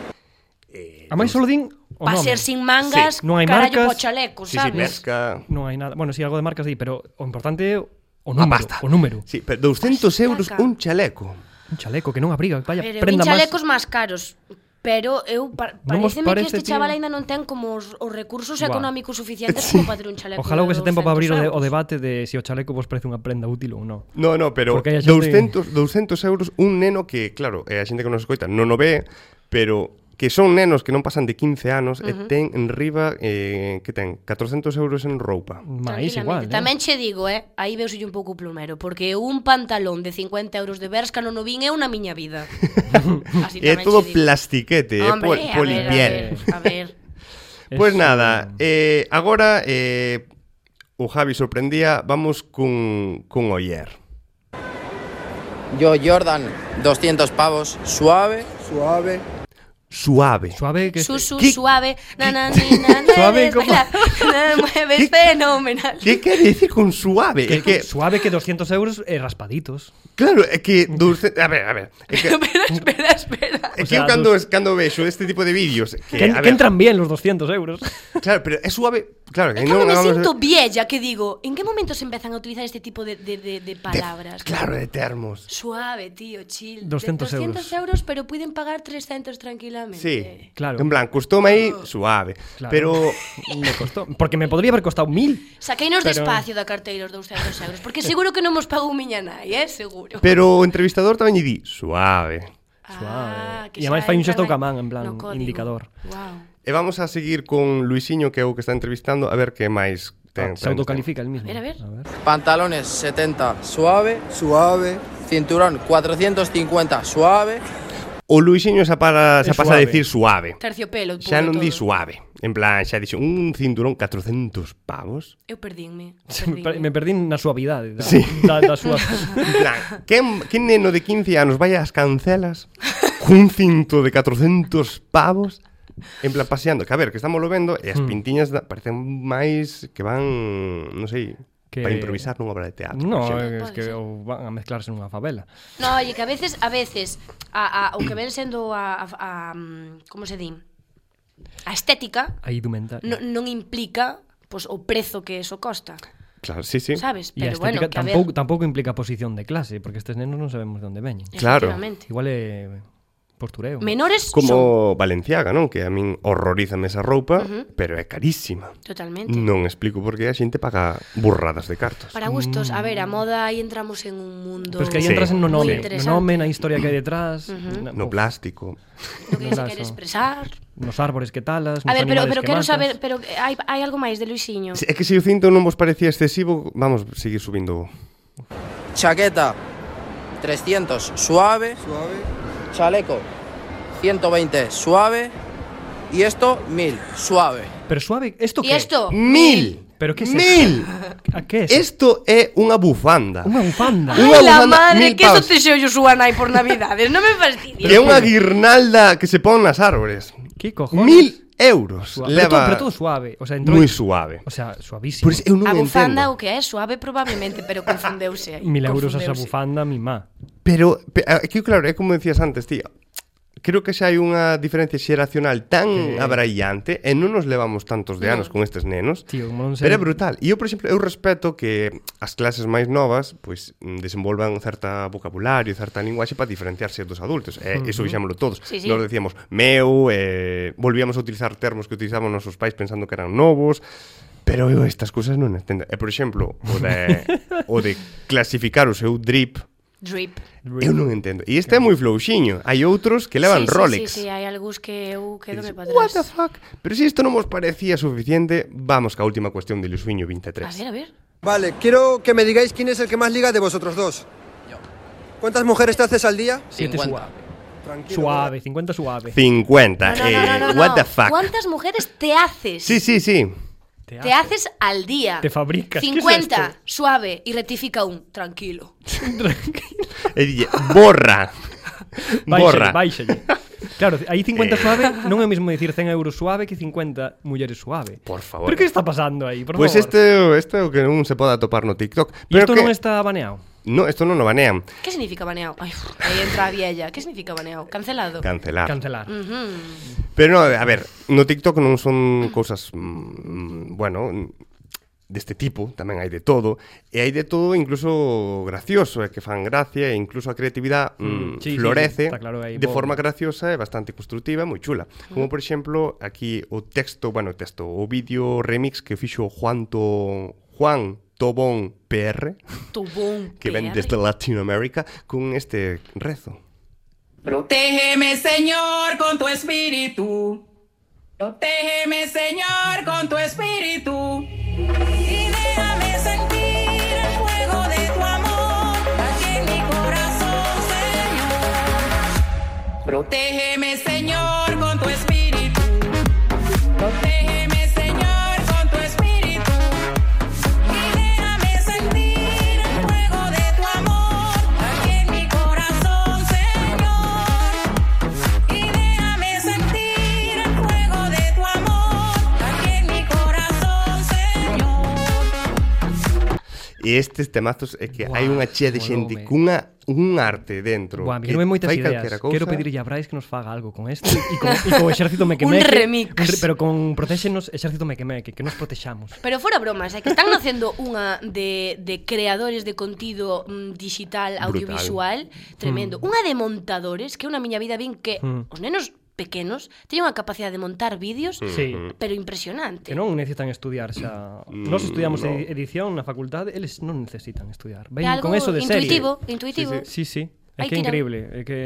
[SPEAKER 3] Ah,
[SPEAKER 4] A máis solo din o
[SPEAKER 3] Pa
[SPEAKER 4] nome.
[SPEAKER 3] ser sin mangas,
[SPEAKER 4] Sí, non hai
[SPEAKER 3] carallo
[SPEAKER 4] marcas.
[SPEAKER 3] po chaleco,
[SPEAKER 2] Sí, sí,
[SPEAKER 3] sabes?
[SPEAKER 2] pesca...
[SPEAKER 4] Non hai nada. Bueno, si sí, algo de marcas aí, pero o importante é o número,
[SPEAKER 2] pasta.
[SPEAKER 4] o número.
[SPEAKER 2] Sí, pero 200 euros
[SPEAKER 3] Caca.
[SPEAKER 2] un chaleco.
[SPEAKER 4] Un chaleco que non abriga, vaya,
[SPEAKER 3] Pero vin
[SPEAKER 4] prenda máis.
[SPEAKER 3] chalecos máis caros. Pero eu pa
[SPEAKER 4] Non vos
[SPEAKER 3] pareceme
[SPEAKER 4] parece,
[SPEAKER 3] que este
[SPEAKER 4] tío?
[SPEAKER 3] chaval aínda non ten como os, os recursos
[SPEAKER 4] Buah.
[SPEAKER 3] económicos suficientes como para ter un chaleco.
[SPEAKER 4] Ojalá houvese tempo para abrir o, de, o
[SPEAKER 3] debate.
[SPEAKER 4] debate de se si o chaleco vos parece unha prenda útil ou non.
[SPEAKER 2] No, no, pero
[SPEAKER 4] Porque hai a xente-
[SPEAKER 2] 200, 200 euros un neno que, claro, é a xente que nos escoita non o ve, pero que son nenos que non pasan de 15 anos uh -huh. e ten en riba, eh, que ten 400 euros en roupa.
[SPEAKER 4] Máis igual, eh?
[SPEAKER 3] Tamén che digo, eh, aí veu un pouco plumero, porque un pantalón de 50 euros de Berska non o vin eu na miña vida. Así
[SPEAKER 2] É
[SPEAKER 3] tamén
[SPEAKER 2] todo
[SPEAKER 3] che digo.
[SPEAKER 2] plastiquete, é pol,
[SPEAKER 3] Hombre, a ver, a
[SPEAKER 2] polipiel.
[SPEAKER 3] ver, A ver,
[SPEAKER 2] Pois
[SPEAKER 4] Es,
[SPEAKER 2] nada, eh, agora eh, o Javi sorprendía, vamos cun, cun oyer.
[SPEAKER 9] yo Jordan, 200 pavos, suave.
[SPEAKER 7] Suave.
[SPEAKER 2] Suave.
[SPEAKER 4] Suave que...
[SPEAKER 3] su, su,
[SPEAKER 2] ¿Qué?
[SPEAKER 3] suave, na, na, ni, na, na,
[SPEAKER 4] Suave
[SPEAKER 3] na,
[SPEAKER 4] como-
[SPEAKER 3] na, na, mueves
[SPEAKER 2] ¿Qué?
[SPEAKER 3] fenomenal.
[SPEAKER 2] Que quere dicir con suave? É que,
[SPEAKER 4] Suave que 200 euros eh, raspaditos.
[SPEAKER 2] claro, é que... Dulce, a ver, a ver. É que,
[SPEAKER 3] Espera, espera, espera.
[SPEAKER 2] É
[SPEAKER 4] O
[SPEAKER 2] que eu
[SPEAKER 4] sea,
[SPEAKER 2] cando,
[SPEAKER 4] dos-
[SPEAKER 2] cando vexo este tipo de vídeos que,
[SPEAKER 4] Que,
[SPEAKER 2] a
[SPEAKER 4] en-
[SPEAKER 2] ver,
[SPEAKER 4] que entran bien los 200 euros.
[SPEAKER 2] Claro, pero é suave Claro, que
[SPEAKER 3] É como
[SPEAKER 2] non
[SPEAKER 3] me
[SPEAKER 2] vamos a-
[SPEAKER 3] sinto vieja que digo, ¿en qué momento se empiezan a utilizar este tipo de, de, de, de
[SPEAKER 2] de-
[SPEAKER 3] palabras?
[SPEAKER 2] Claro, de termos
[SPEAKER 3] Suave, tío, chill.
[SPEAKER 4] 200
[SPEAKER 3] De
[SPEAKER 4] euros.
[SPEAKER 3] 200 euros, pero pueden pagar 300 tranquilamente.
[SPEAKER 2] Sí,
[SPEAKER 4] Claro.
[SPEAKER 2] En plan, costoume aí suave
[SPEAKER 4] Claro.
[SPEAKER 2] Pero
[SPEAKER 4] me costó. Porque me podría haber costado mil.
[SPEAKER 3] Saqueinos
[SPEAKER 4] Pero-
[SPEAKER 3] despacio da carteira os 200 euros, porque seguro que non mos pagou miña nai, eh? Seguro.
[SPEAKER 2] pero o entrevistador tamén lle di Suave
[SPEAKER 3] Ah,
[SPEAKER 4] Suave.
[SPEAKER 3] que
[SPEAKER 4] E ademais
[SPEAKER 3] xa
[SPEAKER 4] fai un
[SPEAKER 3] entra
[SPEAKER 4] xesto
[SPEAKER 3] na-
[SPEAKER 4] camán, en plan,
[SPEAKER 3] no código.
[SPEAKER 4] indicador.
[SPEAKER 3] Guau.
[SPEAKER 2] E vamos a seguir con Luisiño Que é o que está entrevistando A ver que máis ten
[SPEAKER 4] Ah, Se autocalifica el mismo.
[SPEAKER 3] A ver, a ver.
[SPEAKER 9] Pantalones 70, suave.
[SPEAKER 7] Suave.
[SPEAKER 9] Cinturón 450, suave.
[SPEAKER 2] O Luisiño xa, para,
[SPEAKER 4] É
[SPEAKER 2] xa pasa a
[SPEAKER 4] suave.
[SPEAKER 2] decir suave
[SPEAKER 3] Terciopelo,
[SPEAKER 2] Xa
[SPEAKER 3] puro
[SPEAKER 2] non di
[SPEAKER 3] todo.
[SPEAKER 2] suave En plan, xa dixo Un cinturón 400 pavos
[SPEAKER 3] Eu perdínme.
[SPEAKER 4] Me per-
[SPEAKER 3] perdínme.
[SPEAKER 4] Me perdí na suavidade da,
[SPEAKER 2] Sí.
[SPEAKER 4] da, da súa...
[SPEAKER 2] En plan, quen, quen neno de 15 anos vai ás cancelas cun cinto de 400 pavos en plan paseando, que a ver, que estamos lo vendo e
[SPEAKER 4] Hmm.
[SPEAKER 2] as pintiñas da, parecen máis que van, non sei, que...
[SPEAKER 4] Que-
[SPEAKER 2] para improvisar nunha obra de teatro.
[SPEAKER 4] No, eh,
[SPEAKER 2] por exemplo.
[SPEAKER 4] é
[SPEAKER 3] Pode
[SPEAKER 4] que
[SPEAKER 3] ser.
[SPEAKER 4] o van a mezclarse nunha favela.
[SPEAKER 3] No, oye, que a veces, a veces, a, a, o que ven sendo a, a, a mm, como se di, a estética
[SPEAKER 4] A indumentaria.
[SPEAKER 3] no, non implica pois, o prezo que eso costa,
[SPEAKER 2] Claro, sí, sí.
[SPEAKER 3] sabes?
[SPEAKER 4] E a
[SPEAKER 3] Pero bueno,
[SPEAKER 4] estética
[SPEAKER 3] que a ver,
[SPEAKER 4] tampouco, tampouco implica posición de clase, porque estes nenos non sabemos de onde veñen.
[SPEAKER 2] Claro.
[SPEAKER 3] efectivamente.
[SPEAKER 4] Igual é postureo.
[SPEAKER 3] Menores son,
[SPEAKER 2] Como Valenciaga, non? Que a min horrorízame esa roupa, uh -huh. pero é carísima.
[SPEAKER 3] totalmente.
[SPEAKER 2] Non explico por que a xente paga burradas de cartos.
[SPEAKER 3] Para gustos, a ver, a moda aí entramos en un mundo
[SPEAKER 4] Mm. Pero es que aí
[SPEAKER 2] Sí.
[SPEAKER 4] entras en no
[SPEAKER 3] moi
[SPEAKER 4] nome,
[SPEAKER 3] interesante.
[SPEAKER 4] no nome, na historia que hai detrás, na-
[SPEAKER 2] No
[SPEAKER 4] uf,
[SPEAKER 2] plástico.
[SPEAKER 3] do que se
[SPEAKER 4] Brazo.
[SPEAKER 3] quere expresar.
[SPEAKER 4] nos árbores que talas,
[SPEAKER 3] A
[SPEAKER 4] nos
[SPEAKER 3] ver, pero,
[SPEAKER 4] animales
[SPEAKER 3] pero
[SPEAKER 4] que
[SPEAKER 3] quero
[SPEAKER 4] matas.
[SPEAKER 3] saber, pero eh, hai, hai algo máis de Luisiño.
[SPEAKER 2] É que se o cinto non vos parecía excesivo, vamos seguir subindo
[SPEAKER 9] Chaqueta 300, suave.
[SPEAKER 7] Suave.
[SPEAKER 9] Chaleco 120, suave. Y esto 1000, suave.
[SPEAKER 4] Pero suave, isto
[SPEAKER 3] E
[SPEAKER 4] que?
[SPEAKER 3] isto,
[SPEAKER 2] Mil.
[SPEAKER 4] Pero que é
[SPEAKER 2] Mil.
[SPEAKER 4] A que é? Es...
[SPEAKER 2] Isto é unha bufanda.
[SPEAKER 4] Unha bufanda.
[SPEAKER 2] Unha
[SPEAKER 3] Ai, la
[SPEAKER 2] bufanda,
[SPEAKER 3] madre,
[SPEAKER 2] mil
[SPEAKER 3] que eso
[SPEAKER 2] paus.
[SPEAKER 3] te xeo yo súa nai por navidades, non me fastidies.
[SPEAKER 2] Que é unha guirnalda que se pon nas árbores.
[SPEAKER 4] Que cojones?
[SPEAKER 2] Mil euros.
[SPEAKER 4] Suave. Pero, todo,
[SPEAKER 2] Leva
[SPEAKER 4] pero todo suave. O sea, entrou-
[SPEAKER 2] moi suave.
[SPEAKER 4] O sea, suavísimo.
[SPEAKER 2] Por iso eu non
[SPEAKER 3] a
[SPEAKER 2] o
[SPEAKER 3] bufanda
[SPEAKER 2] entendo.
[SPEAKER 3] o que é suave probablemente, pero confundeuse aí.
[SPEAKER 4] Mil euros esa
[SPEAKER 3] confundeuse.
[SPEAKER 4] bufanda, mi má.
[SPEAKER 2] Pero, pe- é que claro, é como decías antes, tío. Creo que xa hai unha diferencia xeracional tan
[SPEAKER 4] Que-
[SPEAKER 2] abraiante e non nos levamos tantos de anos con estes nenos.
[SPEAKER 4] Tío, como non sei-
[SPEAKER 2] Pero é brutal. E eu, por exemplo, eu respeto que as clases máis novas pois mm, desenvolvan certa vocabulario, certa linguaxe para diferenciarse dos adultos. E iso dixámoslo todos.
[SPEAKER 3] Sí, sí.
[SPEAKER 2] Nos decíamos meu, eh, volvíamos a utilizar termos que utilizaban nosos pais pensando que eran novos. Pero eu estas cousas non entendo. E, por exemplo, o de, o de clasificar o seu drip
[SPEAKER 3] Drip.
[SPEAKER 2] Eu non entendo. E este é moi flouxiño. Hai outros que levan
[SPEAKER 3] sí, sí,
[SPEAKER 2] Rolex.
[SPEAKER 3] Sí, sí, hai algúns que
[SPEAKER 2] E
[SPEAKER 3] eu quedo
[SPEAKER 2] dices,
[SPEAKER 3] para
[SPEAKER 2] What the
[SPEAKER 3] atrás.
[SPEAKER 2] fuck? Pero se isto non vos parecía suficiente, vamos ca última cuestión de Luisviño
[SPEAKER 3] A
[SPEAKER 2] 23.
[SPEAKER 3] ver, a ver.
[SPEAKER 7] Vale, quiero que me digáis quién es el que más liga de vosotros dos.
[SPEAKER 9] Yo.
[SPEAKER 7] ¿Cuántas mujeres te haces al día?
[SPEAKER 4] Siete
[SPEAKER 9] 50.
[SPEAKER 4] suave.
[SPEAKER 7] Tranquilo.
[SPEAKER 4] Suave, 50 suave.
[SPEAKER 2] 50.
[SPEAKER 3] No, no,
[SPEAKER 2] eh,
[SPEAKER 3] no, no, no,
[SPEAKER 2] what
[SPEAKER 3] no.
[SPEAKER 2] the fuck?
[SPEAKER 3] ¿Cuántas mujeres te haces?
[SPEAKER 2] Sí, sí, sí.
[SPEAKER 3] Te haces al día.
[SPEAKER 4] Te fabricas. ¿Qué es
[SPEAKER 3] 50,
[SPEAKER 4] esto?
[SPEAKER 3] suave y rectifica un. Tranquilo.
[SPEAKER 2] E dille, borra. borra.
[SPEAKER 4] Báixalle, báixalle. Claro, aí
[SPEAKER 2] Eh.
[SPEAKER 4] 50 suave non é o mesmo dicir 100 euros suave que 50 mulleres suave.
[SPEAKER 2] Por favor.
[SPEAKER 4] Pero que está pasando aí, por
[SPEAKER 2] Pois pues
[SPEAKER 4] favor?
[SPEAKER 2] este, este é o que non se pode atopar no TikTok.
[SPEAKER 4] E
[SPEAKER 2] Pero
[SPEAKER 4] isto
[SPEAKER 2] que...
[SPEAKER 4] non está baneado.
[SPEAKER 2] no, esto non o banean.
[SPEAKER 3] ¿Qué significa baneado? Ay, uf, ahí entra a Viella. ¿Qué significa baneado? Cancelado.
[SPEAKER 2] Cancelar.
[SPEAKER 4] Cancelar.
[SPEAKER 2] Pero no, a ver, no TikTok non son cousas, mm, bueno, deste tipo, tamén hai de todo, e hai de todo incluso gracioso, é que fan gracia, e incluso a creatividade mm,
[SPEAKER 4] Mm, sí, sí,
[SPEAKER 2] florece
[SPEAKER 4] sí, está claro, aí,
[SPEAKER 2] de
[SPEAKER 4] bo.
[SPEAKER 2] forma graciosa e bastante constructiva, e moi chula. Como, por exemplo, aquí o texto, bueno, o texto, o vídeo remix que fixo Juan To... Juan Tobón PR,
[SPEAKER 3] Tu boom.
[SPEAKER 2] que ven desde Latinoamérica, con este rezo.
[SPEAKER 1] Protégeme, Señor, con tu espíritu. Protégeme, Señor, con tu espíritu. Y déjame sentir el fuego de tu amor aquí en mi corazón, Señor. Protégeme, Señor, con tu espíritu. Protégeme, Señor, con tu espíritu. Y déjame sentir el fuego de tu amor aquí en mi corazón, Señor. Y déjame sentir el fuego de tu amor aquí en mi corazón, Señor.
[SPEAKER 2] E estes temazos é que
[SPEAKER 4] Buah,
[SPEAKER 2] hai unha chea de xente
[SPEAKER 4] molome.
[SPEAKER 2] cunha un arte dentro.
[SPEAKER 4] Buah,
[SPEAKER 2] que
[SPEAKER 4] me moitas
[SPEAKER 2] fai
[SPEAKER 4] ideas.
[SPEAKER 2] calquera cousa.
[SPEAKER 4] Quero pedirlle a Brais que nos faga algo con esto e con, e con exército meque
[SPEAKER 3] Un
[SPEAKER 4] meque.
[SPEAKER 3] remix.
[SPEAKER 4] Un re- Pero con protéxenos, exército meque meque, que nos protexamos.
[SPEAKER 3] Pero fora bromas, é que están nacendo unha de, de creadores de contido mm, digital
[SPEAKER 2] Brutal.
[SPEAKER 3] audiovisual tremendo. Unha de montadores, que eu na miña vida vin que
[SPEAKER 4] Mm.
[SPEAKER 3] os nenos pequenos teñen unha capacidade de montar vídeos
[SPEAKER 4] Sí.
[SPEAKER 3] pero impresionante.
[SPEAKER 4] Que non necesitan estudiar xa. Nos estudiamos no. edición na facultade, eles non necesitan estudiar.
[SPEAKER 3] É
[SPEAKER 4] Ven
[SPEAKER 3] algo
[SPEAKER 4] con eso de
[SPEAKER 3] intuitivo,
[SPEAKER 4] serie.
[SPEAKER 3] intuitivo.
[SPEAKER 4] Sí, sí.
[SPEAKER 3] Hai
[SPEAKER 4] É que é
[SPEAKER 3] que ir a-
[SPEAKER 4] increíble, é que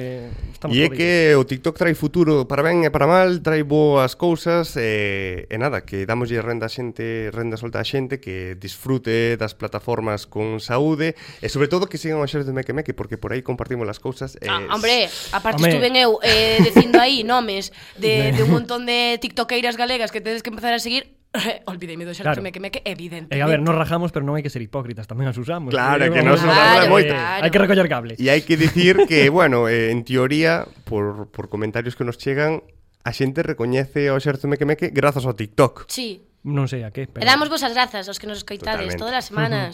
[SPEAKER 4] estamos
[SPEAKER 2] E é
[SPEAKER 4] jodidos.
[SPEAKER 2] que o TikTok trai futuro para ben e para mal, trai boas cousas e, e nada, que damoslle renda a xente, renda solta a xente que disfrute das plataformas con saúde e sobre todo que sigan o xerzo de Meque Meque porque por aí compartimos as cousas. E,
[SPEAKER 3] Ah, hombre, aparte
[SPEAKER 4] Home.
[SPEAKER 3] estuven eu eh, dicindo aí nomes de, de un montón de tiktokeiras galegas que tedes que empezar a seguir. Olvidei-me do xerto
[SPEAKER 4] Claro.
[SPEAKER 3] me que me que evidente.
[SPEAKER 4] Eh, a ver, nos rajamos, pero non hai que ser hipócritas, tamén as usamos.
[SPEAKER 2] Claro,
[SPEAKER 4] Eh,
[SPEAKER 2] que
[SPEAKER 4] vamos
[SPEAKER 3] nos
[SPEAKER 4] a-
[SPEAKER 3] usamos Claro, moito. claro.
[SPEAKER 4] Hai eh, que recoller cable.
[SPEAKER 2] E hai que dicir que, bueno, eh, en teoría, por, por comentarios que nos chegan, a xente recoñece o xerzo Meque Meque grazas ao TikTok.
[SPEAKER 3] Sí,
[SPEAKER 4] Non sei a que,
[SPEAKER 3] E
[SPEAKER 4] pero...
[SPEAKER 3] damos vos as grazas aos que nos escoitades
[SPEAKER 2] Totalmente.
[SPEAKER 3] todas as semanas,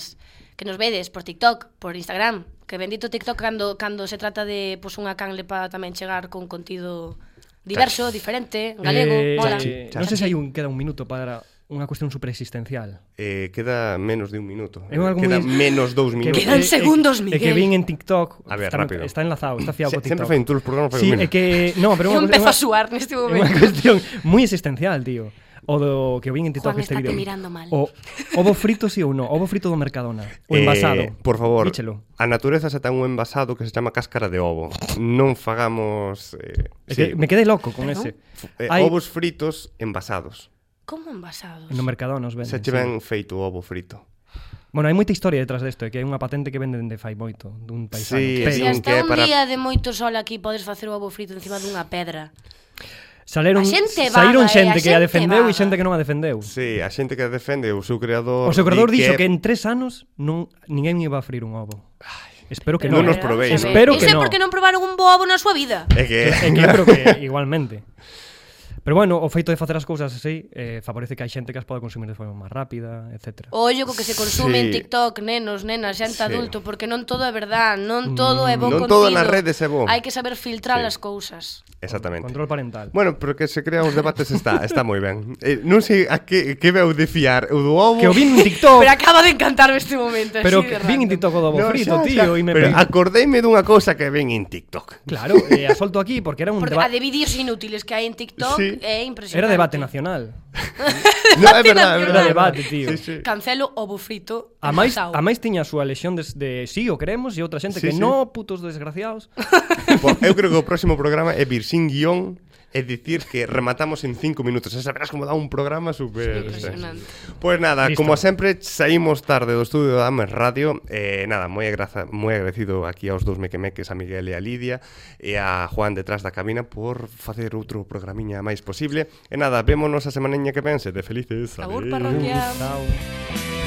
[SPEAKER 3] que nos vedes por TikTok, por Instagram, que bendito TikTok cando cando se trata de pois unha canle para tamén chegar con contido diverso, diferente, galego,
[SPEAKER 4] Eh,
[SPEAKER 3] mola.
[SPEAKER 4] eh, Non sei se hai un, queda un minuto para unha cuestión superexistencial.
[SPEAKER 2] Eh, queda menos de un minuto.
[SPEAKER 4] É algo
[SPEAKER 2] queda
[SPEAKER 4] moi-
[SPEAKER 2] menos dous minutos.
[SPEAKER 3] Quedan
[SPEAKER 4] eh, eh,
[SPEAKER 3] segundos,
[SPEAKER 4] É
[SPEAKER 3] Miguel.
[SPEAKER 4] que vin en TikTok.
[SPEAKER 2] A ver,
[SPEAKER 4] está,
[SPEAKER 2] rápido.
[SPEAKER 4] Está enlazado, está fiado
[SPEAKER 2] Se-
[SPEAKER 4] co TikTok.
[SPEAKER 2] sempre fai en todos os programas, fai
[SPEAKER 4] Sí,
[SPEAKER 2] un minuto.
[SPEAKER 4] é que... No, pero é
[SPEAKER 3] Eu
[SPEAKER 4] unha-
[SPEAKER 3] empezo
[SPEAKER 4] é
[SPEAKER 3] a suar neste
[SPEAKER 4] unha- É unha
[SPEAKER 3] momento.
[SPEAKER 4] cuestión moi existencial, tío. O do que vin en TikTok
[SPEAKER 3] Juan,
[SPEAKER 4] este
[SPEAKER 3] estate
[SPEAKER 4] vídeo.
[SPEAKER 3] mirando mal.
[SPEAKER 4] O ovo frito sí ou non, ovo frito do Mercadona, o
[SPEAKER 2] Eh,
[SPEAKER 4] envasado.
[SPEAKER 2] por favor,
[SPEAKER 4] Díchelo.
[SPEAKER 2] a natureza xa ten un envasado que se chama cáscara de ovo. Non fagamos eh,
[SPEAKER 4] É
[SPEAKER 2] sí,
[SPEAKER 4] que me quedei loco con ese.
[SPEAKER 2] eh,
[SPEAKER 4] Hai-
[SPEAKER 2] ovos fritos envasados.
[SPEAKER 3] Como envasados?
[SPEAKER 4] No Mercadona os venden.
[SPEAKER 2] Xa che ven feito o ovo frito.
[SPEAKER 4] Bueno, hai moita historia detrás desto, é que hai unha patente que venden de fai moito, dun paisano.
[SPEAKER 2] Sí, sí.
[SPEAKER 3] Si
[SPEAKER 4] pero
[SPEAKER 2] que é
[SPEAKER 3] hasta un
[SPEAKER 2] para-
[SPEAKER 3] día de moito sol aquí podes facer o ovo frito encima dunha pedra.
[SPEAKER 4] saleron,
[SPEAKER 3] A xente vaga,
[SPEAKER 4] saíron
[SPEAKER 3] eh,
[SPEAKER 4] xente
[SPEAKER 3] a
[SPEAKER 4] que a
[SPEAKER 3] xente
[SPEAKER 4] defendeu
[SPEAKER 3] vaga.
[SPEAKER 4] e xente que non a defendeu.
[SPEAKER 2] Sí, a xente que defende o seu creador...
[SPEAKER 4] O seu creador
[SPEAKER 2] di
[SPEAKER 4] dixo que en tres anos non ninguén iba a frir un ovo. Espero que
[SPEAKER 2] Non
[SPEAKER 4] non.
[SPEAKER 2] nos probéis.
[SPEAKER 4] Espero que
[SPEAKER 3] Ese
[SPEAKER 4] no. Eh,
[SPEAKER 2] Eh.
[SPEAKER 3] porque non probaron un bo ovo na súa vida.
[SPEAKER 2] É que...
[SPEAKER 4] É que, pero que igualmente. Pero Pero bueno, o feito de facer as cousas así eh, favorece que hai xente que as poda consumir de forma máis rápida, etc.
[SPEAKER 3] O ollo co que se consume en
[SPEAKER 2] Sí.
[SPEAKER 3] TikTok, nenos, nenas, xente
[SPEAKER 2] Sí. Mm.
[SPEAKER 3] adulto, porque non todo é verdad, non todo é bo
[SPEAKER 2] Non
[SPEAKER 3] contido.
[SPEAKER 2] todo nas redes é bo.
[SPEAKER 3] Hai que saber filtrar
[SPEAKER 2] Sí.
[SPEAKER 3] as cousas.
[SPEAKER 2] Exactamente.
[SPEAKER 4] Control parental.
[SPEAKER 2] Bueno, pero que se crean os debates está, está moi ben. Eh, non sei a que, que veu de fiar, o do ovo...
[SPEAKER 4] Que o vin en TikTok,
[SPEAKER 3] Pero acaba de encantarme este momento, así
[SPEAKER 4] Oh. pero
[SPEAKER 3] de
[SPEAKER 4] que vin
[SPEAKER 3] random.
[SPEAKER 4] en TikTok o dobo
[SPEAKER 2] No,
[SPEAKER 4] frito,
[SPEAKER 2] xa, xa.
[SPEAKER 4] tío, e me
[SPEAKER 2] Pero
[SPEAKER 4] pe-
[SPEAKER 2] acordeime dunha cousa que ven en TikTok.
[SPEAKER 4] Claro, eh, a solto aquí porque era un
[SPEAKER 3] Porque a
[SPEAKER 4] debate
[SPEAKER 3] de vídeos inútiles que hai en TikTok
[SPEAKER 2] Sí.
[SPEAKER 3] é impresionante.
[SPEAKER 4] era debate nacional.
[SPEAKER 2] No, é verdade, é
[SPEAKER 4] Era
[SPEAKER 2] verdade.
[SPEAKER 4] debate, tío.
[SPEAKER 2] Sí, sí.
[SPEAKER 3] Cancelo o bufrito.
[SPEAKER 4] A máis, a máis tiña a súa lexión de, de sí, o queremos, e outra xente
[SPEAKER 2] Sí,
[SPEAKER 4] que
[SPEAKER 2] sí.
[SPEAKER 4] no, putos desgraciados.
[SPEAKER 2] Bo, eu creo que o próximo programa é vir sin guión e dicir que rematamos en 5 minutos. E saberás como dá un programa super...
[SPEAKER 3] Sí, impresionante.
[SPEAKER 2] Pois nada, Listo.
[SPEAKER 4] Listo.
[SPEAKER 2] como sempre, saímos tarde do estudio da Ames Radio. Eh, nada, moi, agraza, moi agradecido aquí aos dous mequemeques, a Miguel e a Lidia, e a Juan detrás da cabina por facer outro programiña máis posible. E nada, vémonos a semaneña que pense. De felices.
[SPEAKER 3] Agur,
[SPEAKER 2] Adeus.
[SPEAKER 3] parroquia.
[SPEAKER 4] Chao.